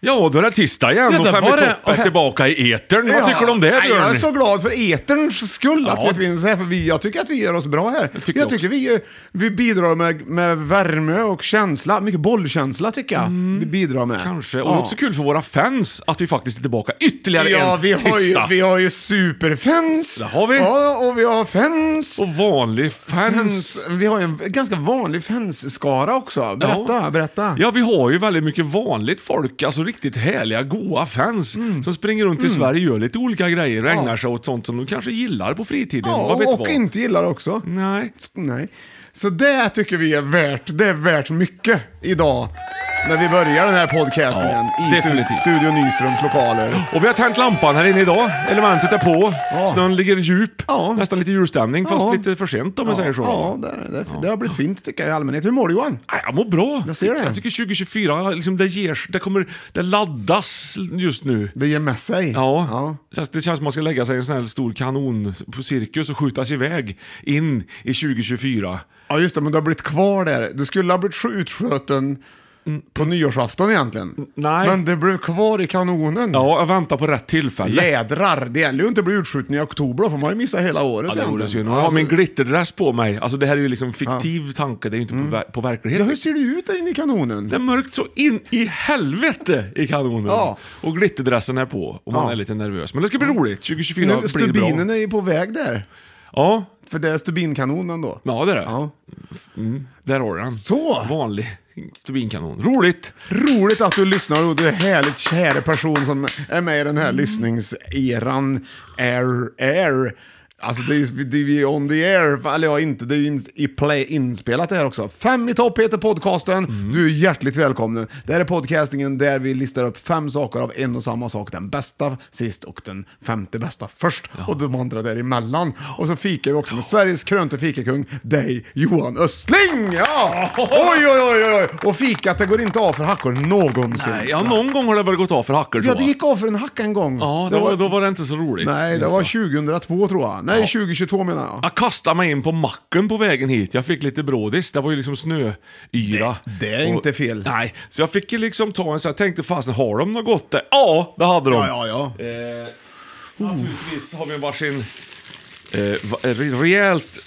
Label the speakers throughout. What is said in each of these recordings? Speaker 1: Ja, då är det tisdag igen
Speaker 2: Ja,
Speaker 1: och
Speaker 2: där
Speaker 1: Fem i
Speaker 2: var det.
Speaker 1: topp är tillbaka i etern. Vad tycker du om det
Speaker 3: Nej, alltså- Jag är
Speaker 1: Björn?
Speaker 3: så glad för eterns skull
Speaker 1: Ja.
Speaker 3: att vi finns här, för vi, jag tycker att vi gör oss bra här. Jag
Speaker 1: tycker
Speaker 3: tycker,
Speaker 1: jag också.
Speaker 3: vi, eh, vi bidrar med, med värme och känsla, mycket bollkänsla tycker jag vi bidrar med.
Speaker 1: Mm. Kanske. Och det är
Speaker 3: ja.
Speaker 1: också kul för våra fans att vi faktiskt är tillbaka ytterligare
Speaker 3: Ja,
Speaker 1: en
Speaker 3: vi har, ju,
Speaker 1: tisdag.
Speaker 3: vi har ju superfans.
Speaker 1: Det har vi.
Speaker 3: Ja, och vi har fans.
Speaker 1: Och vanlig fans.
Speaker 3: fans. Vi har ju en ganska vanlig fansskara också. Berätta,
Speaker 1: Ja.
Speaker 3: berätta.
Speaker 1: Ja, vi har ju väldigt mycket vanligt folk, alltså riktigt härliga, goa fans
Speaker 3: Mm.
Speaker 1: som springer runt i Sverige och gör lite olika grejer och ägnar sig åt sånt som de kanske gillar på fritiden.
Speaker 3: Ja,
Speaker 1: vad vet
Speaker 3: och
Speaker 1: vad.
Speaker 3: inte gillar också.
Speaker 1: Nej.
Speaker 3: Nej. Så det tycker vi är värt, det är värt mycket idag. När vi börjar den här podcastingen
Speaker 1: Ja,
Speaker 3: i
Speaker 1: definitivt.
Speaker 3: tu- Studio Nyströms lokaler.
Speaker 1: Och vi har tänt lampan här inne idag. Elementet är på.
Speaker 3: Ja.
Speaker 1: Snön ligger djup.
Speaker 3: Ja.
Speaker 1: Nästan lite julstämning, fast
Speaker 3: Ja.
Speaker 1: lite för sent om man säger så.
Speaker 3: Ja, det, är- det, är- det har blivit fint tycker jag i allmänhet. Hur mår du Johan?
Speaker 1: Nej, Jag mår bra.
Speaker 3: Jag ser det.
Speaker 1: jag tycker 2024, liksom, det, ger, det, kommer, det laddas just nu.
Speaker 3: Det ger med sig.
Speaker 1: Ja. Det känns- Det känns som man ska lägga sig i en sån här stor kanon på cirkus och skjutas iväg in i 2024.
Speaker 3: Ja, just det, men du har blivit kvar där. Du skulle ha blivit sk- utskjuten på nyårsafton egentligen.
Speaker 1: Mm. nej.
Speaker 3: Men det blev kvar i kanonen.
Speaker 1: Ja, jag väntar på rätt tillfälle.
Speaker 3: Jädrar, det gäller ju inte att bli utskjuten i oktober, då får man ju missa hela året
Speaker 1: Ja, det vore
Speaker 3: egentligen.
Speaker 1: synd. Jag har
Speaker 3: Alltså-
Speaker 1: min glitterdress på mig. Alltså det här är ju liksom fiktiv tanke, det är ju inte på, ver- på
Speaker 3: Mm. ja,
Speaker 1: verkligheten.
Speaker 3: hur ser det ut där inne i kanonen?
Speaker 1: Det är mörkt så in i helvete i kanonen.
Speaker 3: Ja.
Speaker 1: Och glitterdressen är på och man
Speaker 3: Ja.
Speaker 1: är lite nervös. Men det ska bli roligt. 2024
Speaker 3: Nu,
Speaker 1: blir det bra.
Speaker 3: stubinen är ju på väg där.
Speaker 1: Ja.
Speaker 3: För det är stubinkanonen då.
Speaker 1: ja, det är det.
Speaker 3: Ja.
Speaker 1: Mm, där har du den.
Speaker 3: Så!
Speaker 1: Vanlig stubinkanon. Roligt!
Speaker 3: Roligt att du lyssnar och du är härligt kär person som är med i den här lyssningseran. Air, air. Alltså det är ju det är ju on the air, eller ja inte, det är ju in- i play inspelat det här också. Fem i topp heter podcasten, du är hjärtligt välkommen. Det här är podcastingen där vi listar upp fem saker av en och samma sak. Den bästa sist och den femte bästa först och de andra däremellan. Och så fikar vi också med Sveriges krönte fikakung, dig Johan Östling! Ja! Oj, oj, oj, oj! Och fikat, det går inte av för hackor någonsin.
Speaker 1: Nej, ja, någon gång har det väl gått av för hackor
Speaker 3: Ja,
Speaker 1: tror
Speaker 3: det
Speaker 1: jag.
Speaker 3: gick av för en hacka en gång.
Speaker 1: Ja, det var, då var det inte så roligt.
Speaker 3: Nej, det
Speaker 1: minns
Speaker 3: var
Speaker 1: jag.
Speaker 3: 2002 tror jag. Nej, 2022 menar jag.
Speaker 1: Jag kastade mig in på macken på vägen hit. Jag fick lite brådis. Det var ju liksom snöyra.
Speaker 3: det är inte fel.
Speaker 1: Nej, så jag fick ju liksom ta en så jag tänkte fasen har de något gott där? Ja, det hade de.
Speaker 3: Ja, ja, ja.
Speaker 1: Eh, naturligtvis har vi varsin eh, va- re- rejält,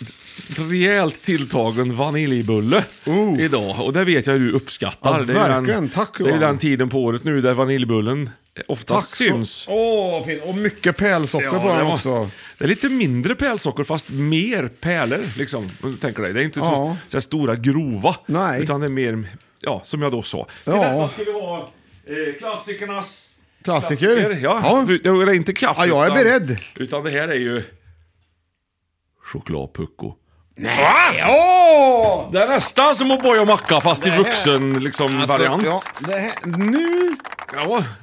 Speaker 1: rejält tilltagen vaniljbulle
Speaker 3: Oh.
Speaker 1: idag. Och det vet jag hur du uppskattar.
Speaker 3: Ja,
Speaker 1: det är ju
Speaker 3: verkligen.
Speaker 1: den,
Speaker 3: Tack,
Speaker 1: Det är ju
Speaker 3: Johan.
Speaker 1: den tiden på året nu där vaniljbullen oftast
Speaker 3: så-
Speaker 1: syns.
Speaker 3: Åh, fint. Och mycket pärlsocker
Speaker 1: Ja,
Speaker 3: på den
Speaker 1: var-
Speaker 3: också.
Speaker 1: det är lite mindre pärlsocker fast mer pärlor. Liksom, om du tänker dig. Det är inte så,
Speaker 3: Ja.
Speaker 1: så här stora grova.
Speaker 3: Nej.
Speaker 1: Utan det är mer, ja, som jag då sa. Till
Speaker 3: Ja.
Speaker 1: detta ska vi ha eh, klassikernas...
Speaker 3: Klassiker.
Speaker 1: Ja,
Speaker 3: Ja.
Speaker 1: för- det är inte kaffe.
Speaker 3: Ja, jag är
Speaker 1: utan,
Speaker 3: beredd.
Speaker 1: Utan det här är ju... Chokladpucko.
Speaker 3: Åh!
Speaker 1: Det är nästan som att boja macka fast i
Speaker 3: Det här- Alltså,
Speaker 1: vuxen liksom, variant.
Speaker 3: Ja,
Speaker 1: Ja.
Speaker 3: det här, nu,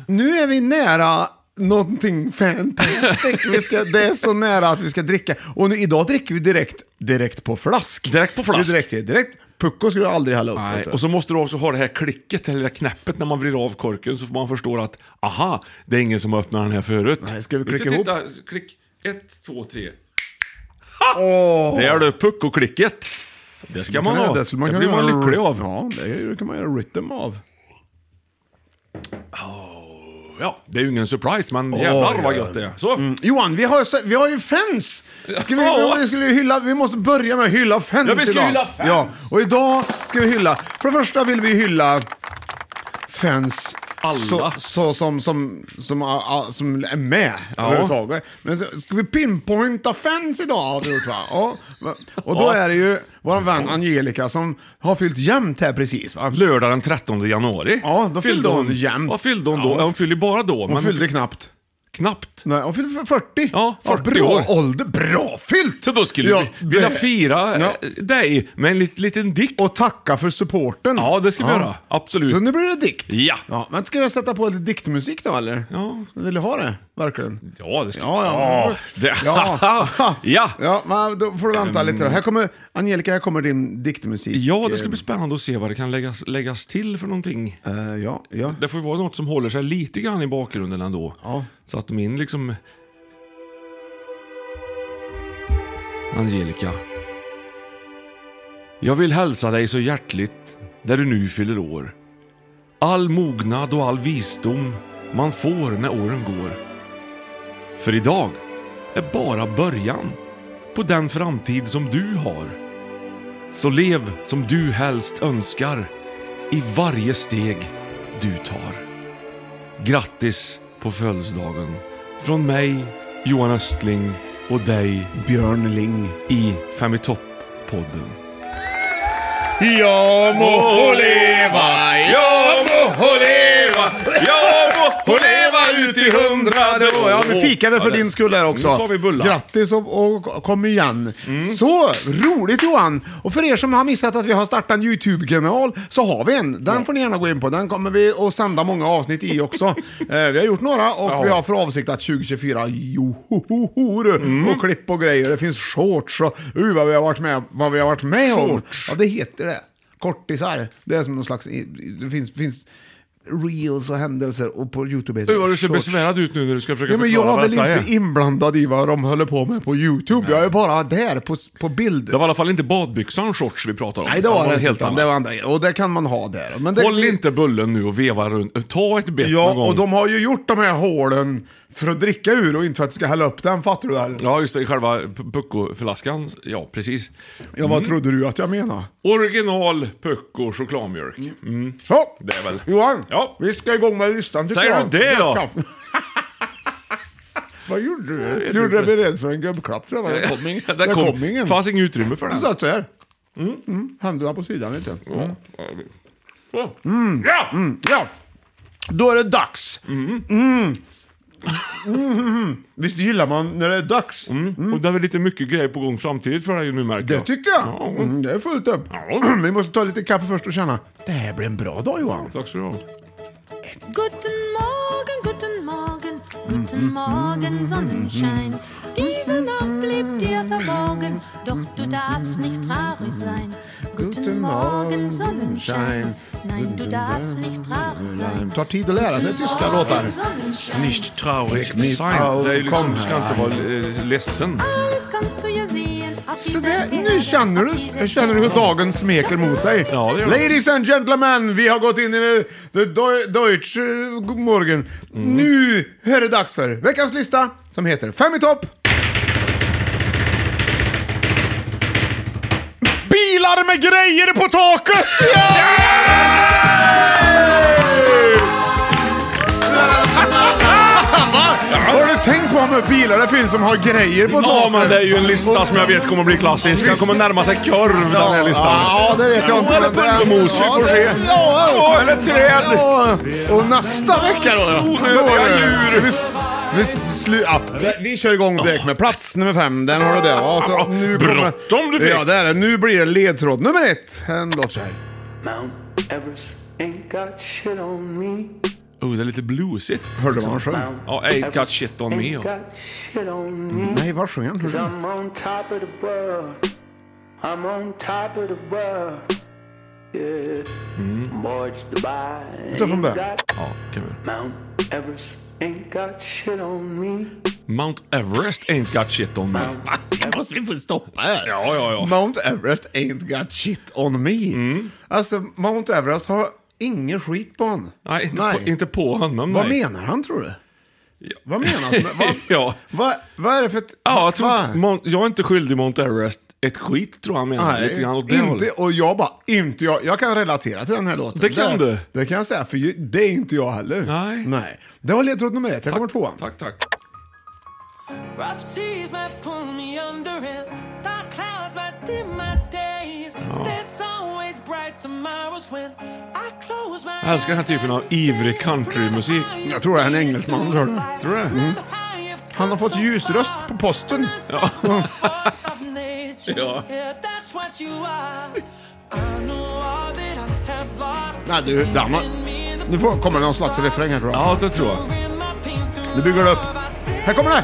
Speaker 3: nu är vi nära någonting fantastiskt. Vi ska, det är så nära att vi ska dricka. Och nu, idag dricker vi direkt, direkt på flask.
Speaker 1: Direkt på flask.
Speaker 3: Vi dricker direkt. Pucko skulle du aldrig hälla upp.
Speaker 1: Nej.
Speaker 3: vet du.
Speaker 1: Och så måste du också ha det här klicket, det här lilla knäppet när man vrider av korken så får man förstå att aha, det är ingen som har öppnat den här förut.
Speaker 3: Nej, ska vi klicka
Speaker 1: ska
Speaker 3: ihop?
Speaker 1: titta, Klick, ett, två, tre.
Speaker 3: Åh.
Speaker 1: Det är du, pucko-klicket. Det ska man ha.
Speaker 3: Det,
Speaker 1: Det,
Speaker 3: skulle man
Speaker 1: blir
Speaker 3: kunna
Speaker 1: man
Speaker 3: göra-
Speaker 1: lycklig av. Ja.
Speaker 3: Ja, det är- det kan man göra rytm av.
Speaker 1: det är ju ingen surprise, men jävlar vad
Speaker 3: ja.
Speaker 1: gött det är. Så.
Speaker 3: Johan, vi har, vi har ju fans! Ska vi,
Speaker 1: Ja.
Speaker 3: vi, skulle ju hylla, vi måste börja med att hylla fans
Speaker 1: Ja, vi ska
Speaker 3: idag.
Speaker 1: hylla fans.
Speaker 3: Ja, och idag ska vi hylla, för det första vill vi hylla fans
Speaker 1: Alla.
Speaker 3: Så, så, som, som, som, ah, ah, som är med
Speaker 1: Ja.
Speaker 3: överhuvudtaget. Men så, ska vi pinpointa fans idag har vi gjort va? Ja. Och då
Speaker 1: Ja.
Speaker 3: är det ju vår vän Angelica som har fyllt jämnt här precis va?
Speaker 1: Lördag den 13 januari.
Speaker 3: Ja, då fyllde hon jämnt.
Speaker 1: Vad fyllde hon då? Ja. Hon fyllde ju bara då,
Speaker 3: Hon
Speaker 1: men
Speaker 3: fyllde knappt.
Speaker 1: knappt.
Speaker 3: Nej, hon fyllde 40.
Speaker 1: Ja, 40
Speaker 3: bra
Speaker 1: år.
Speaker 3: ålder, bra fyllt!
Speaker 1: Så då skulle
Speaker 3: Ja,
Speaker 1: vi vilja
Speaker 3: det-
Speaker 1: fira
Speaker 3: Ja.
Speaker 1: eh, dig med en lit- liten dikt.
Speaker 3: Och tacka för supporten.
Speaker 1: Ja, det ska vi göra. Absolut.
Speaker 3: Så nu blir det dikt.
Speaker 1: Ja.
Speaker 3: ja. Men ska jag sätta på lite diktmusik då eller?
Speaker 1: Ja. Ah.
Speaker 3: Vill du ha det? Verkligen?
Speaker 1: Ja, det ska
Speaker 3: Ja, ja.
Speaker 1: det-
Speaker 3: ja.
Speaker 1: Ja.
Speaker 3: ja men då får du vänta lite då. Här kommer, Angelica, här kommer din diktmusik.
Speaker 1: Ehm. Ja, det ska bli spännande att se vad det kan läggas, läggas till för någonting.
Speaker 3: Eh, ja, ja.
Speaker 1: Det får ju vara något som håller sig lite grann i bakgrunden ändå.
Speaker 3: Ja.
Speaker 1: Så att min liksom... Angelica. Jag vill hälsa dig så hjärtligt när du nu fyller år. all mognad och all visdom man får när åren går. För idag är bara början på den framtid som du har. Så lev som du helst önskar i varje steg du tar. Grattis på födelsedagen från mig, Johan Östling och dig
Speaker 3: Björn Ling.
Speaker 1: i Fem i topp-podden.
Speaker 3: Jag må leva, jag må leva,
Speaker 1: Jag må
Speaker 3: och leva ut i hundrade år. Ja, nu fikar vi för din skull här också.
Speaker 1: Nu tar vi bullar.
Speaker 3: Grattis och, och kom igen. Så roligt Johan! Och för er som har missat att vi har startat en YouTube-kanal så har vi en. Den får ni gärna gå in på. Den kommer vi att sända många avsnitt i också. eh, vi har gjort några och
Speaker 1: Ja.
Speaker 3: vi har för avsikt att 2024, johoho du,
Speaker 1: Mm.
Speaker 3: och klipp och grejer. Det finns shorts och uh, vad vi har varit med, vad vi har varit med om.
Speaker 1: Shorts.
Speaker 3: Ja, det heter det. Kortisar. Det är som någon slags, det finns, finns reels och händelser och på YouTube heter
Speaker 1: Du, vad du ser
Speaker 3: shorts.
Speaker 1: besvärad ut nu när du ska försöka
Speaker 3: Ja, men
Speaker 1: förklara
Speaker 3: jag är
Speaker 1: vad
Speaker 3: väl
Speaker 1: detta
Speaker 3: inte
Speaker 1: är.
Speaker 3: inblandad i vad de håller på med på YouTube. Jag är bara där på, på bild.
Speaker 1: Det var i alla fall inte badbyxan shorts vi pratade om.
Speaker 3: Nej, det var
Speaker 1: utan
Speaker 3: det
Speaker 1: helt
Speaker 3: inte. utan Det
Speaker 1: annat.
Speaker 3: var andra Och det kan man ha där. Men det,
Speaker 1: Håll inte bullen nu och veva runt. Ta ett bett någon
Speaker 3: Ja,
Speaker 1: gång.
Speaker 3: och de har ju gjort de här hålen för att dricka ur och inte för att du ska hälla upp den, fattar du väl?
Speaker 1: Ja, just det. i Själva p- puckoflaskan. Ja, precis.
Speaker 3: Ja,
Speaker 1: Mm.
Speaker 3: vad trodde du att jag menade?
Speaker 1: Original pucko chokladmjölk.
Speaker 3: Mm. Så,
Speaker 1: Det är väl...
Speaker 3: Johan,
Speaker 1: Ja.
Speaker 3: vi ska igång med listan tycker
Speaker 1: Säger
Speaker 3: jag.
Speaker 1: du det då?
Speaker 3: Gubbklapp. vad gjorde du?
Speaker 1: vet
Speaker 3: Gjorde
Speaker 1: inte.
Speaker 3: dig beredd för en gubbklapp tror jag. Det kom ingen.
Speaker 1: Där
Speaker 3: Det
Speaker 1: kom,
Speaker 3: kom ingen.
Speaker 1: fanns inget utrymme för den.
Speaker 3: Jag satt så här. Mm, Händerna på sidan lite. Mm.
Speaker 1: Ja. Ja!
Speaker 3: Ja, då är det dags. Mm. Mm. Mm. Visst gillar man när det är dags?
Speaker 1: Mm. Och det är väl lite mycket grejer på gång samtidigt för dig nu märker
Speaker 3: Mm. Det tycker jag.
Speaker 1: Ja.
Speaker 3: Mm, det är fullt upp.
Speaker 1: Ja.
Speaker 3: Vi måste ta lite kaffe först och känna. Det här blir en bra dag Johan.
Speaker 1: Tack så du ha.
Speaker 2: Guten Morgen, guten Morgen, guten Morgen, Sonnenschein. Diese Nacht blieb dir verborgen, doch du darfst nicht traurig sein. Guten Morgen, Sonnenschein. Nein, du darfst nicht traurig sein.
Speaker 3: Det tar tid att lära sig tyska låtar.
Speaker 2: Sonnenschein.
Speaker 1: Nicht traurig
Speaker 3: Nicht
Speaker 1: sein. Det är ju liksom,
Speaker 3: traurig.
Speaker 1: du ska inte vara eh, ledsen.
Speaker 2: Alles kannst du ja sehen auf
Speaker 3: Så
Speaker 2: dieser
Speaker 3: det,
Speaker 2: Welt.
Speaker 3: nu känner du, känner du hur dagen smeker mot dig.
Speaker 1: Ja, det gör det.
Speaker 3: Ladies and gentlemen, vi har gått in i det, det deu- Deutsche Morgen.
Speaker 1: Mm.
Speaker 3: Nu är det dags för veckans lista som heter Fem i topp. Bilar med grejer på taket! Ja! Har du tänkt på hur många bilar det finns som har grejer på taket?
Speaker 1: Ja, men det är ju en lista som jag vet kommer bli klassisk. Den kommer närma sig korv, den här listan.
Speaker 3: Ja, det vet jag inte.
Speaker 1: Eller
Speaker 3: men det-
Speaker 1: pulvermos, vi
Speaker 3: Ja,
Speaker 1: får
Speaker 3: det-
Speaker 1: se.
Speaker 3: Ja,
Speaker 1: Åh, eller träd!
Speaker 3: ja. Och nästa vecka då? ja.
Speaker 1: Onödiga
Speaker 3: Då är det-
Speaker 1: Oh, djur.
Speaker 3: ska Vi, s- vi, s- slu, ja, vi- vi kör igång direkt med plats nummer fem. Den har du där. va? så nu kommer-
Speaker 1: Bråttom du fick.
Speaker 3: Ja, det är det. Nu blir det ledtråd nummer ett. En låt så här.
Speaker 4: Mount Everest ain't got shit on me.
Speaker 1: Oh, det är lite bluesigt.
Speaker 3: Hörde man sjöng?
Speaker 1: Ja, ain't got shit on me.
Speaker 4: Ain't
Speaker 1: ja.
Speaker 4: got shit on me.
Speaker 5: Mm,
Speaker 3: Nej, vad sjöng han? Hörde
Speaker 4: 'Cause
Speaker 3: du?
Speaker 4: I'm on top of the world. I'm on top of the world. Yeah.
Speaker 5: Mm.
Speaker 4: March the by.
Speaker 3: Ta från början.
Speaker 1: Ja, kan vi.
Speaker 4: Mount Everest ain't got shit on me.
Speaker 1: Mount Everest ain't got shit on me.
Speaker 3: Det måste vi få stoppa här.
Speaker 1: Ja, ja, ja.
Speaker 3: Mount Everest ain't got shit on me.
Speaker 1: Mm.
Speaker 3: Alltså, Mount Everest har ingen skit på honom.
Speaker 1: Nej, inte, På, inte på honom.
Speaker 3: Vad
Speaker 1: nej.
Speaker 3: menar han tror du? Vad menas med... Vad,
Speaker 1: Ja.
Speaker 3: vad, vad är det för... ett-
Speaker 1: Ja, jag, tror,
Speaker 3: vad?
Speaker 1: Mon- jag är inte skyldig Mount Everest ett skit, tror han menar.
Speaker 3: Nej,
Speaker 1: lite grann åt det
Speaker 3: inte,
Speaker 1: hållet.
Speaker 3: och jag bara, inte jag. Jag kan relatera till den här låten.
Speaker 1: Det kan
Speaker 3: det,
Speaker 1: du.
Speaker 3: Det kan jag säga, för ju- det är inte jag heller.
Speaker 1: Nej.
Speaker 3: Nej. Det var ledtråd nummer ett, jag kommer tvåan.
Speaker 1: Tack, tack.
Speaker 6: Rough seas might pull me under it. Dark clouds might dim my days. There's always bright tomorrows when I close my
Speaker 1: Jag älskar den här typen av ivrig countrymusik.
Speaker 3: Jag tror det är en engelsman, tror du.
Speaker 1: Tror du Mm. det?
Speaker 3: Han har fått ljusröst på posten.
Speaker 6: Ja.
Speaker 1: Ja.
Speaker 3: Nej, du, Danmark. Nu får, kommer det någon slags refräng här tror jag.
Speaker 1: Ja, det tror jag.
Speaker 3: Nu bygger det upp. Här kommer det!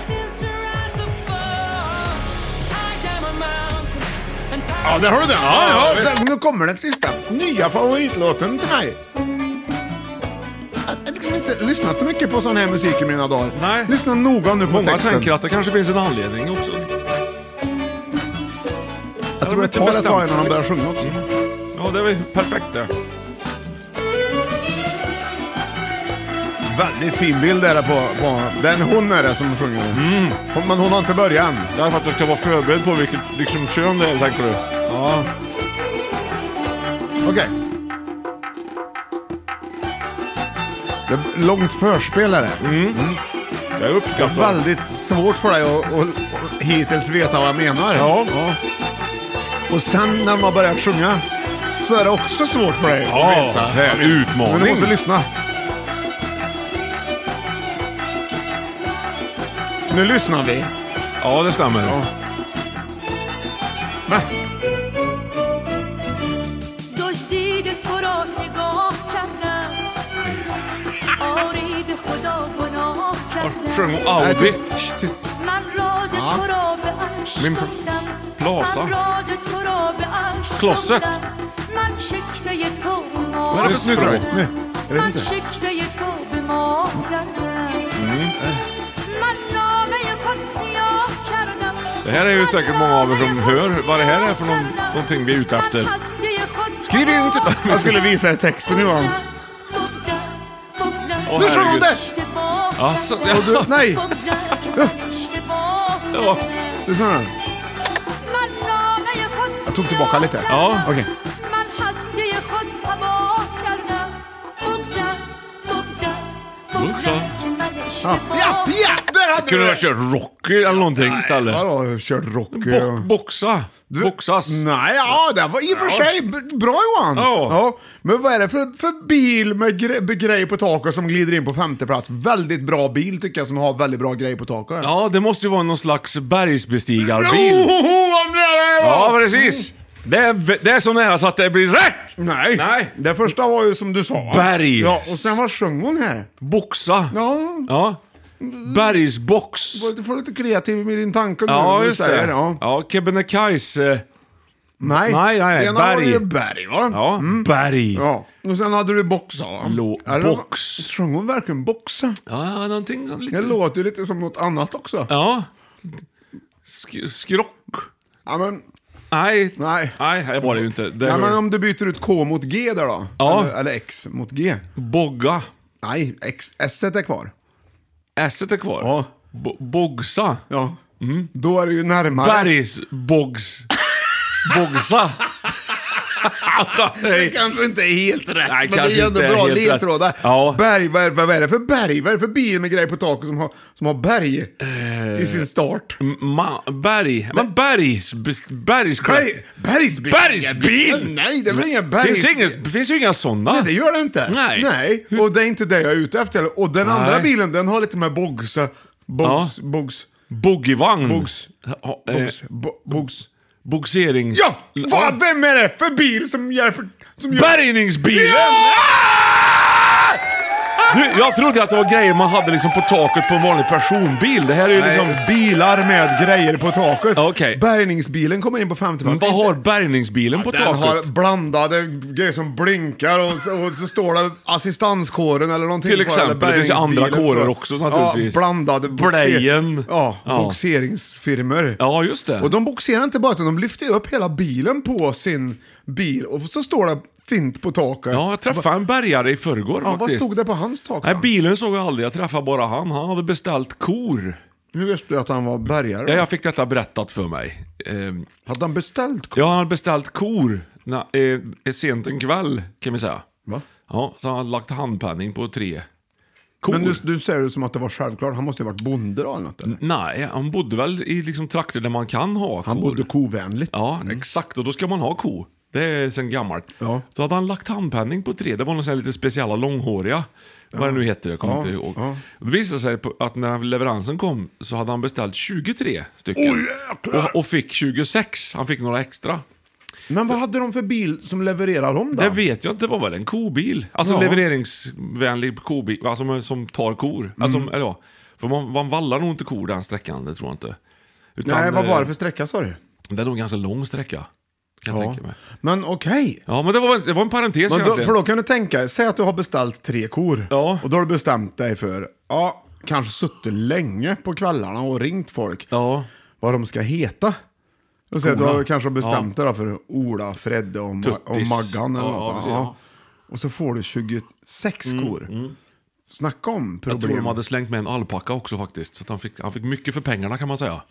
Speaker 3: Ja, där har du den. Ja, ja, sen, nu kommer den sista. Nya favoritlåten till mig. Jag har liksom inte lyssnat så mycket på sån här musik i mina dagar.
Speaker 1: Nej.
Speaker 3: Lyssna noga nu på
Speaker 1: Många
Speaker 3: texten.
Speaker 1: tänker att det kanske finns en anledning också.
Speaker 3: jag tror det tar ett tag innan de börjar sjunga också.
Speaker 1: Ja, det är väl perfekt det.
Speaker 3: Väldigt fin bild är det på, på den hon är det som sjunger.
Speaker 1: Mm.
Speaker 3: Hon, men hon har inte början.
Speaker 1: Ja, för att jag ska vara förberedd på vilket liksom, kön det är, tänker du?
Speaker 3: Ja. Okej. Det är långt förspel är det.
Speaker 1: Mm. Jag uppskattar det.
Speaker 3: Väldigt svårt för dig att att- att hittills veta vad jag menar.
Speaker 1: Ja.
Speaker 3: Och sen när man börjar sjunga så är det också svårt för dig att
Speaker 1: Ja,
Speaker 3: veta.
Speaker 1: det är en
Speaker 3: Men du
Speaker 1: utmaning.
Speaker 3: måste lyssna. Nu lyssnar vi.
Speaker 1: Ja, det stämmer.
Speaker 3: Ja. Va?
Speaker 2: دزدید تو را نگاه کردم آری به خدا گناه
Speaker 1: Sjöng
Speaker 2: کردم
Speaker 1: hon Audi?
Speaker 3: tyst, tyst.
Speaker 2: من راز تو را به عشق
Speaker 1: من
Speaker 2: گفتم
Speaker 1: پلاسا.
Speaker 2: من راز تو را به عشق
Speaker 1: کلاست.
Speaker 2: گفتم. من شکوه تو ما
Speaker 1: Vad är det för
Speaker 3: Nu drar vi.
Speaker 1: språk?
Speaker 3: Nu. Jag vet
Speaker 2: من
Speaker 3: inte.
Speaker 2: شکوه تو به ما کردم من نامه خود سیاه کردم
Speaker 1: Det här är ju säkert många av er som hör vad det här är för någon, någonting vi är ute efter.
Speaker 2: من هستی خود
Speaker 1: Skriv in till...
Speaker 3: Jag skulle visa dig texten Johan.
Speaker 1: Åh,
Speaker 3: Nu sjöng
Speaker 1: herregud.
Speaker 3: hon det!
Speaker 1: Alltså,
Speaker 2: ja.
Speaker 1: ja.
Speaker 3: Du, nej! Lyssna nu. Jag tog tillbaka lite.
Speaker 1: Ja.
Speaker 3: Okej.
Speaker 2: من هستی خود تباه کردم بگذر بگذر
Speaker 1: بگذر.
Speaker 2: بگذر که من
Speaker 3: Ja, ja,
Speaker 2: اشتباه
Speaker 3: ja! Där hade
Speaker 1: Kunde
Speaker 3: du
Speaker 1: jag
Speaker 3: det!
Speaker 1: köra Rocky eller någonting istället?
Speaker 3: Vadå, kört Rocky och...
Speaker 1: Bo- boxa.
Speaker 3: Du-
Speaker 1: Boxas.
Speaker 3: Nej, ja, det var i och för sig b- bra Johan.
Speaker 1: Ja.
Speaker 3: Men vad är det för, för bil med gre grejer på taket som glider in på femte plats? Väldigt bra bil tycker jag som har väldigt bra grejer på taket.
Speaker 1: Ja, det måste ju vara någon slags
Speaker 3: Oh,
Speaker 1: bergsbestigarbil.
Speaker 3: oh, oh, om det är det,
Speaker 1: Ja,
Speaker 3: Johan.
Speaker 1: precis. Det är, v- det är så nära så att det blir rätt!
Speaker 3: Nej.
Speaker 1: Nej.
Speaker 3: Det första var ju som du sa.
Speaker 1: Bergs.
Speaker 3: Ja, och sen vad sjöng hon här?
Speaker 1: Boxa.
Speaker 3: Ja,
Speaker 1: Ja. Bergsbox.
Speaker 3: du får lite kreativ med din tanke nu. när
Speaker 1: Ja,
Speaker 3: du
Speaker 1: just
Speaker 3: säger
Speaker 1: det.
Speaker 3: Ja.
Speaker 1: Ja, Kebnekaise. eh,
Speaker 3: Nej,
Speaker 1: Nej, nej,
Speaker 3: Det ena var
Speaker 1: berg.
Speaker 3: ju berg va?
Speaker 1: Ja, berg.
Speaker 3: Mm. Ja, och sen hade du boxa. va?
Speaker 1: Lo-
Speaker 3: Eller-
Speaker 1: box.
Speaker 3: Sjöng hon verkligen boxa?
Speaker 1: Ja, någonting sånt
Speaker 3: Det
Speaker 1: lite...
Speaker 3: låter ju lite som något annat också.
Speaker 1: Ja. Sk- skrock.
Speaker 3: Ja, men,
Speaker 1: Nej.
Speaker 3: Nej.
Speaker 1: Nej, det var det ju inte. Det
Speaker 3: ja,
Speaker 1: var
Speaker 3: men om du byter ut K mot G där då?
Speaker 1: Ja.
Speaker 3: Eller, eller X mot G?
Speaker 1: Bogga.
Speaker 3: Nej, X, S är kvar.
Speaker 1: S är kvar.
Speaker 3: Ja.
Speaker 1: Bo- bogsa.
Speaker 3: Ja.
Speaker 1: Mm.
Speaker 3: Då är det ju närmare.
Speaker 1: Bergsbogs... Bogsa.
Speaker 3: Det kanske inte är helt rätt,
Speaker 1: Nej,
Speaker 3: men det
Speaker 1: kanske
Speaker 3: är ändå
Speaker 1: inte är
Speaker 3: bra
Speaker 1: helt rätt.
Speaker 3: ledtrådar.
Speaker 1: Ja.
Speaker 3: Berg, vad är, vad är det för berg? Vad är det för bil med grejer på taket som har, som har berg
Speaker 1: Eh.
Speaker 3: i sin start?
Speaker 1: Ma- berg. Men bergs... bes- Bergsklätt.
Speaker 3: Berg, bergsbil?
Speaker 1: Bergsbil!
Speaker 3: Nej, det är väl ingen berg?
Speaker 1: Finns inget, finns ju inga sådana.
Speaker 3: Nej, det gör det inte.
Speaker 1: Nej.
Speaker 3: Och det är inte det jag är ute efter. Och den andra
Speaker 1: Nej.
Speaker 3: bilen, den har lite med bogsa... Bogs...
Speaker 1: Ja.
Speaker 3: Bogs...
Speaker 1: Boogievagn.
Speaker 3: Bogs.
Speaker 1: Ha- eh,
Speaker 3: Bogs... bo- Bogs...
Speaker 1: Bogserings...
Speaker 3: Ja! Vad, vem är det för bil som hjälper... Som gör...
Speaker 1: Bärgningsbilen!
Speaker 3: Ja!
Speaker 1: Du, jag trodde att det var grejer man hade liksom på taket på en vanlig personbil. Det här är ju
Speaker 3: Nej,
Speaker 1: liksom...
Speaker 3: bilar med grejer på taket.
Speaker 1: Okej.
Speaker 3: Bärgningsbilen kommer in på femte
Speaker 1: Men
Speaker 3: plats.
Speaker 1: vad har bärgningsbilen på
Speaker 3: Den har
Speaker 1: taket?
Speaker 3: blandade grejer som blinkar och så, och så står det assistanskåren eller någonting
Speaker 1: Till
Speaker 3: på den, eller
Speaker 1: exempel, det finns ju andra
Speaker 3: bärgningsbilen,
Speaker 1: kårer
Speaker 3: så-
Speaker 1: också naturligtvis.
Speaker 3: Ja, blandade... boxer-
Speaker 1: Blejen.
Speaker 3: Ja,
Speaker 1: Ja.
Speaker 3: boxeringsfirmor.
Speaker 1: Ja, just det.
Speaker 3: Och de boxerar inte bara utan de lyfter upp hela bilen på sin bil och så står det fint på taket.
Speaker 1: Ja, jag träffade en bärgare i förrgår
Speaker 3: Ja, vad
Speaker 1: faktiskt.
Speaker 3: stod det på hans tak
Speaker 1: Nej,
Speaker 3: då?
Speaker 1: bilen såg jag aldrig. Jag träffade bara han. Han hade beställt kor.
Speaker 3: Hur visste du att han var bärgare?
Speaker 1: Ja, jag fick detta berättat för mig. Ehm,
Speaker 3: Hade han beställt kort?
Speaker 1: Ja, han hade beställt kor na, eh, sent en kväll, kan vi säga.
Speaker 3: Va?
Speaker 1: Ja, så han hade lagt handpenning på tre kor.
Speaker 3: Men du, du säger det som att det var självklart, han måste ju ha varit bonde då eller något eller?
Speaker 1: Nej, han bodde väl i liksom, trakter där man kan ha kor.
Speaker 3: Han bodde kovänligt.
Speaker 1: Ja, exakt. Och då ska man ha ko. Det är sen gammalt.
Speaker 3: Ja.
Speaker 1: Så hade han lagt handpenning på tre. Det var någon sån här lite speciella långhåriga. Vad det nu heter, jag kommer
Speaker 3: Ja,
Speaker 1: inte ihåg.
Speaker 3: ja.
Speaker 1: Det visade sig på- att när leveransen kom så hade han beställt 23 stycken. och, och fick 26. Han fick några extra.
Speaker 3: Men vad hade de för bil som levererade dem då?
Speaker 1: Det vet jag inte. Det var väl en kobil? Alltså
Speaker 3: Ja.
Speaker 1: levereringsvänlig kobil. Alltså som, som tar kor. Alltså,
Speaker 3: Mm.
Speaker 1: eller ja. För man, man vallar nog inte kor den sträckan, det tror jag inte. Utan,
Speaker 3: Nej, vad var det
Speaker 1: eh,
Speaker 3: för sträcka sa du?
Speaker 1: Det är nog en ganska lång sträcka. Kan jag
Speaker 3: Ja.
Speaker 1: tänka mig.
Speaker 3: Men okej.
Speaker 1: Ja, men det var, det var en parentes
Speaker 3: Men då,
Speaker 1: egentligen.
Speaker 3: för då kan du tänka, säg att du har beställt tre kor.
Speaker 1: Ja.
Speaker 3: Och då har du bestämt dig för, ja, kanske suttit länge på kvällarna och ringt folk.
Speaker 1: Ja,
Speaker 3: vad de ska heta. Och sen
Speaker 1: Ola.
Speaker 3: då kanske de bestämt det då för Ola, Fredde och, Ma- och
Speaker 1: Tuttis.
Speaker 3: Maggan eller
Speaker 1: Ja,
Speaker 3: något.
Speaker 1: ja,
Speaker 3: Ja, Och så får du 26 kor. Snacka om problem.
Speaker 1: Jag tror de hade slängt med en alpacka också faktiskt. Så att han, fick, han fick mycket för pengarna kan man säga.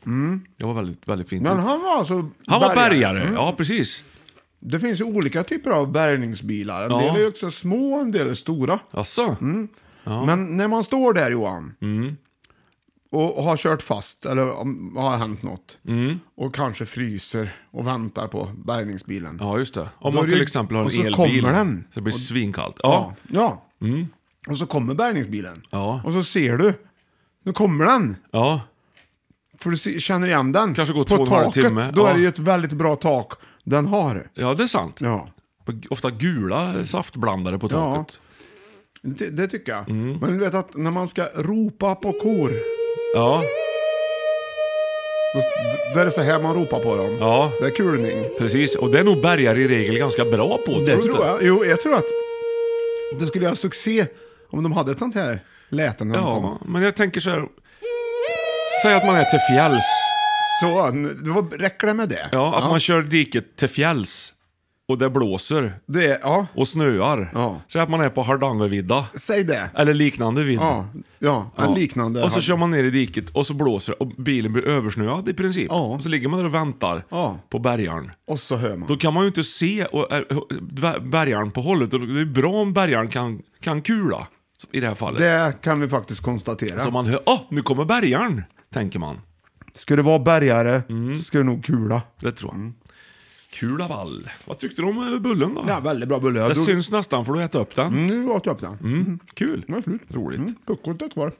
Speaker 1: Det var väldigt, väldigt fint.
Speaker 3: Mm. Men Mm. han var alltså
Speaker 1: han var bärgare, ja precis.
Speaker 3: Det finns ju olika typer av bärgningsbilar. En
Speaker 1: Ja.
Speaker 3: del är ju också små, en del är stora.
Speaker 1: Jaså?
Speaker 3: Mm. Men när man står där Johan,
Speaker 1: Mm.
Speaker 3: och har kört fast, eller om- har hänt något,
Speaker 1: Mm.
Speaker 3: och kanske fryser och väntar på bärgningsbilen.
Speaker 1: Ja, just det. Om
Speaker 3: Då är
Speaker 1: man
Speaker 3: det
Speaker 1: till
Speaker 3: ju-
Speaker 1: exempel har en
Speaker 3: och så
Speaker 1: elbil.
Speaker 3: kommer den.
Speaker 1: Så det blir svinkallt.
Speaker 3: Ja.
Speaker 1: Ja.
Speaker 3: ja. Och så kommer bärgningsbilen.
Speaker 1: Mm. Ja.
Speaker 3: Och så ser du, nu kommer den.
Speaker 1: ja.
Speaker 3: För du se- känner igen den.
Speaker 1: Kanske går
Speaker 3: På
Speaker 1: två och en halv
Speaker 3: taket,
Speaker 1: timme.
Speaker 3: då
Speaker 1: Ja.
Speaker 3: är det ju ett väldigt bra tak den har.
Speaker 1: Ja, det är sant.
Speaker 3: Ja.
Speaker 1: Ofta
Speaker 3: Mm.
Speaker 1: gula saftblandare på taket.
Speaker 3: Det, det tycker jag.
Speaker 1: Mm.
Speaker 3: Men du vet att när man ska ropa på kor,
Speaker 1: Ja,
Speaker 3: då, då är det så här man ropar på dem.
Speaker 1: ja.
Speaker 3: Det är kulning.
Speaker 1: precis. Och det är nog bärgare i regel ganska bra på.
Speaker 3: Det
Speaker 1: du
Speaker 3: tror
Speaker 1: inte?
Speaker 3: jag. Jo, jag tror att det skulle göra succé om de hade ett sånt här läte när de kom.
Speaker 1: Ja, men jag tänker så här. Säg att man är till fjälls.
Speaker 3: Så, nu- det var, räcker det med det?
Speaker 1: Ja, att man kör diket till fjälls. Och det blåser
Speaker 3: det är, ja.
Speaker 1: och snöar.
Speaker 3: Ja.
Speaker 1: Säg att man är på Hardangervidda.
Speaker 3: Säg det.
Speaker 1: Eller liknande vidd.
Speaker 3: Ja, ja, en liknande.
Speaker 1: Och så
Speaker 3: har-
Speaker 1: kör man ner i diket och så blåser det och bilen blir översnöad i princip.
Speaker 3: Ja.
Speaker 1: Och så ligger man där och väntar
Speaker 3: Ja.
Speaker 1: på bärgaren.
Speaker 3: och så hör man.
Speaker 1: Då kan man ju inte se och, äh, bärgaren på hållet. Och Det är bra om bärgaren kan, kan kula i det här fallet.
Speaker 3: Det kan vi faktiskt konstatera.
Speaker 1: Så man hör, åh, nu kommer bärgaren, tänker man.
Speaker 3: Skulle det vara bärgare
Speaker 1: Mm.
Speaker 3: så skulle det nog kula.
Speaker 1: Det tror jag.
Speaker 3: Mm.
Speaker 1: Kul av all. Vad tyckte du om eh, bullen då?
Speaker 3: Ja, väldigt bra bulle.
Speaker 1: det
Speaker 3: Jag drog-
Speaker 1: syns nästan för du äta upp den.
Speaker 3: Nu åt jag upp den.
Speaker 1: Mm. Kul.
Speaker 3: Det var slut.
Speaker 1: Roligt. Mhm.
Speaker 3: Mm, puckot är kvar.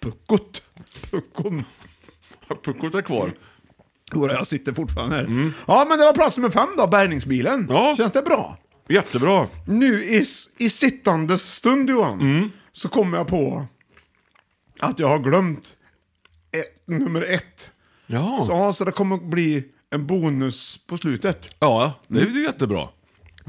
Speaker 3: Puckot. Puckon.
Speaker 1: Puckot är kvar.
Speaker 3: Jo, jag sitter fortfarande här. Ja, men det var plats nummer fem då, bärgningsbilen.
Speaker 1: Ja.
Speaker 3: Känns det bra?
Speaker 1: Jättebra.
Speaker 3: Nu i, i sittandes stund Johan, så kommer jag på att jag har glömt ett, nummer ett.
Speaker 1: Ja.
Speaker 3: Så, ja, så det kommer bli en bonus på slutet.
Speaker 1: Ja, det är ju jättebra.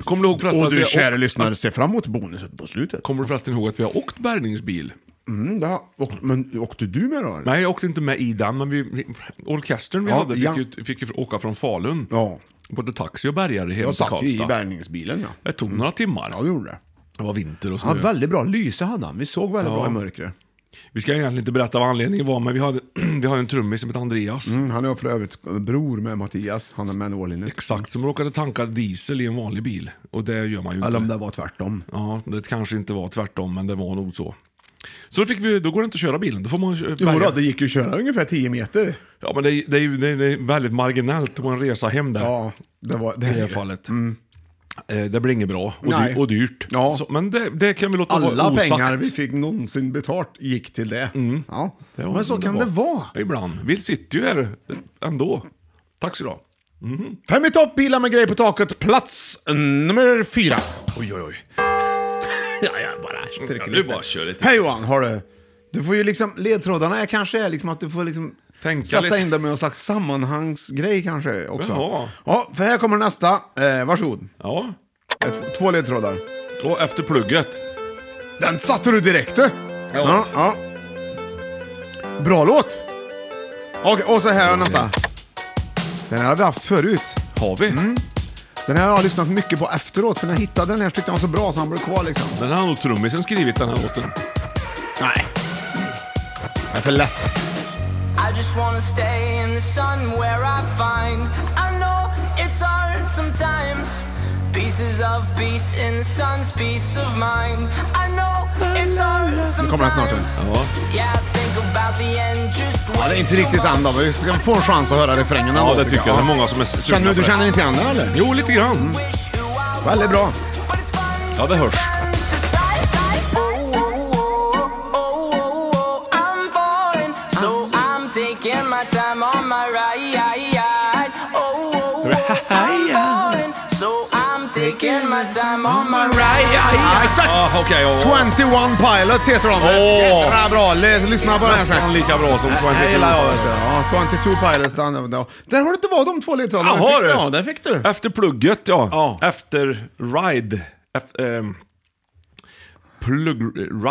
Speaker 1: Kommer du ihåg förresten
Speaker 3: Och
Speaker 1: att vi
Speaker 3: du
Speaker 1: har
Speaker 3: kära
Speaker 1: åkt-
Speaker 3: lyssnare, se fram emot bonuset på slutet.
Speaker 1: Kommer du förresten ihåg att vi har åkt bärgningsbil?
Speaker 3: Mm, det har, och, men åkte du med då? eller?
Speaker 1: Nej, jag åkte inte med i den, men vi, orkestern vi
Speaker 3: Ja,
Speaker 1: hade fick,
Speaker 3: ja.
Speaker 1: ju, fick ju åka från Falun.
Speaker 3: Ja,
Speaker 1: Både taxi och bärgare hem
Speaker 3: jag
Speaker 1: till
Speaker 3: satt ju i
Speaker 1: Karlstad.
Speaker 3: bärgningsbilen ja.
Speaker 1: det tog några timmar.
Speaker 3: Ja, det gjorde det.
Speaker 1: Det var vinter och
Speaker 3: Ja,
Speaker 1: snö.
Speaker 3: väldigt bra lyse hade han. Vi såg väldigt bra i mörkret.
Speaker 1: Vi ska egentligen inte berätta vad anledningen var, men vi hade, vi hade en trummis som hette Andreas.
Speaker 3: Mm, han är för övrigt bror med Mattias. Han är med en årlinje.
Speaker 1: Exakt, som råkade tanka diesel i en vanlig bil. Och det gör man ju
Speaker 3: Eller om
Speaker 1: inte.
Speaker 3: det var tvärtom.
Speaker 1: Ja, det kanske inte var tvärtom, men det var nog så. Så då, fick vi, då går det inte att köra bilen, då får man eh,
Speaker 3: Jo
Speaker 1: bärga.
Speaker 3: då, det gick ju att köra ungefär 10 meter.
Speaker 1: Ja, men det, är- det, är ju- det, är- det är väldigt marginellt på en resa hem där.
Speaker 3: Ja, det var det.
Speaker 1: I det här fallet. Eh, Det blir inget bra och,
Speaker 3: Nej.
Speaker 1: dy- och dyrt.
Speaker 3: Ja.
Speaker 1: Så, men det, det kan vi låta vara
Speaker 3: Alla
Speaker 1: osagt.
Speaker 3: pengar vi fick någonsin betalt gick till det. Ja.
Speaker 1: Det var
Speaker 3: Men så kan Mm. det vara.
Speaker 1: Ibland. Vi sitter ju här ändå. Tack så du ha.
Speaker 3: Fem i topp, bilar med grejer på taket. Plats nummer fyra.
Speaker 1: Oj, oj, oj.
Speaker 3: Ja, jag bara
Speaker 1: Ja,
Speaker 3: stryker
Speaker 1: du bara kör lite.
Speaker 3: Hej Johan, har du? Du får ju liksom, ledtrådarna är kanske är liksom att du får liksom
Speaker 1: Tänka
Speaker 3: sätta
Speaker 1: lite.
Speaker 3: in dem i någon slags sammanhangsgrej kanske också.
Speaker 1: Jaha.
Speaker 3: Ja, för här kommer nästa. Eh, varsågod.
Speaker 1: Ja.
Speaker 3: Ett, två ledtrådar.
Speaker 1: Och efter plugget.
Speaker 3: Den satte du direkt du! Ja, ja. Bra låt! Okej, och så här nästa. Den här har vi haft förut.
Speaker 1: Har vi?
Speaker 3: Mm. Den här har jag lyssnat mycket på efteråt, för när jag hittade den här så tyckte jag den var så bra så han blev kvar liksom.
Speaker 1: Den har nog trummisen skrivit den här låten.
Speaker 3: Nej. Det är för lätt.
Speaker 7: I just wanna stay in the sun where I find I know it's hard sometimes Pieces of peace in the sun's peace of mind I know it's hard
Speaker 3: kommer den snart, den.
Speaker 7: sometimes
Speaker 1: Ja.
Speaker 7: Yeah, I think about the end just
Speaker 3: Ja, det er är inte riktigt än då, men vi ska få en chans att höra refrängen ändå.
Speaker 1: Ja, det tycker jag. Det är många som är sugna
Speaker 3: Känner du,
Speaker 1: på
Speaker 3: du
Speaker 1: det.
Speaker 3: känner inte igen den eller?
Speaker 1: Jo, lite grann.
Speaker 3: Mm. Väldigt bra.
Speaker 1: Ja, det hörs.
Speaker 7: Taking my time on my ride. Oh, oh, oh, I'm falling, so I'm taking my time on my ride.
Speaker 3: Ja, exakt!
Speaker 1: Ah, Okej, ja.
Speaker 3: 21 Pilots heter de.
Speaker 1: Åh!
Speaker 3: Jädra bra, L- lyssna på den här sen.
Speaker 1: Nästan lika bra som 22
Speaker 3: Jag gillar jag, vet du. Ja, 22 Pilots. Den, den, den. Där har du inte varit de två ledtrådarna.
Speaker 1: Ja, har
Speaker 3: Den fick
Speaker 1: du?
Speaker 3: Ja, där fick du.
Speaker 1: Efter plugget, ja.
Speaker 3: Ja.
Speaker 1: Efter ride. Efter, ehm, plug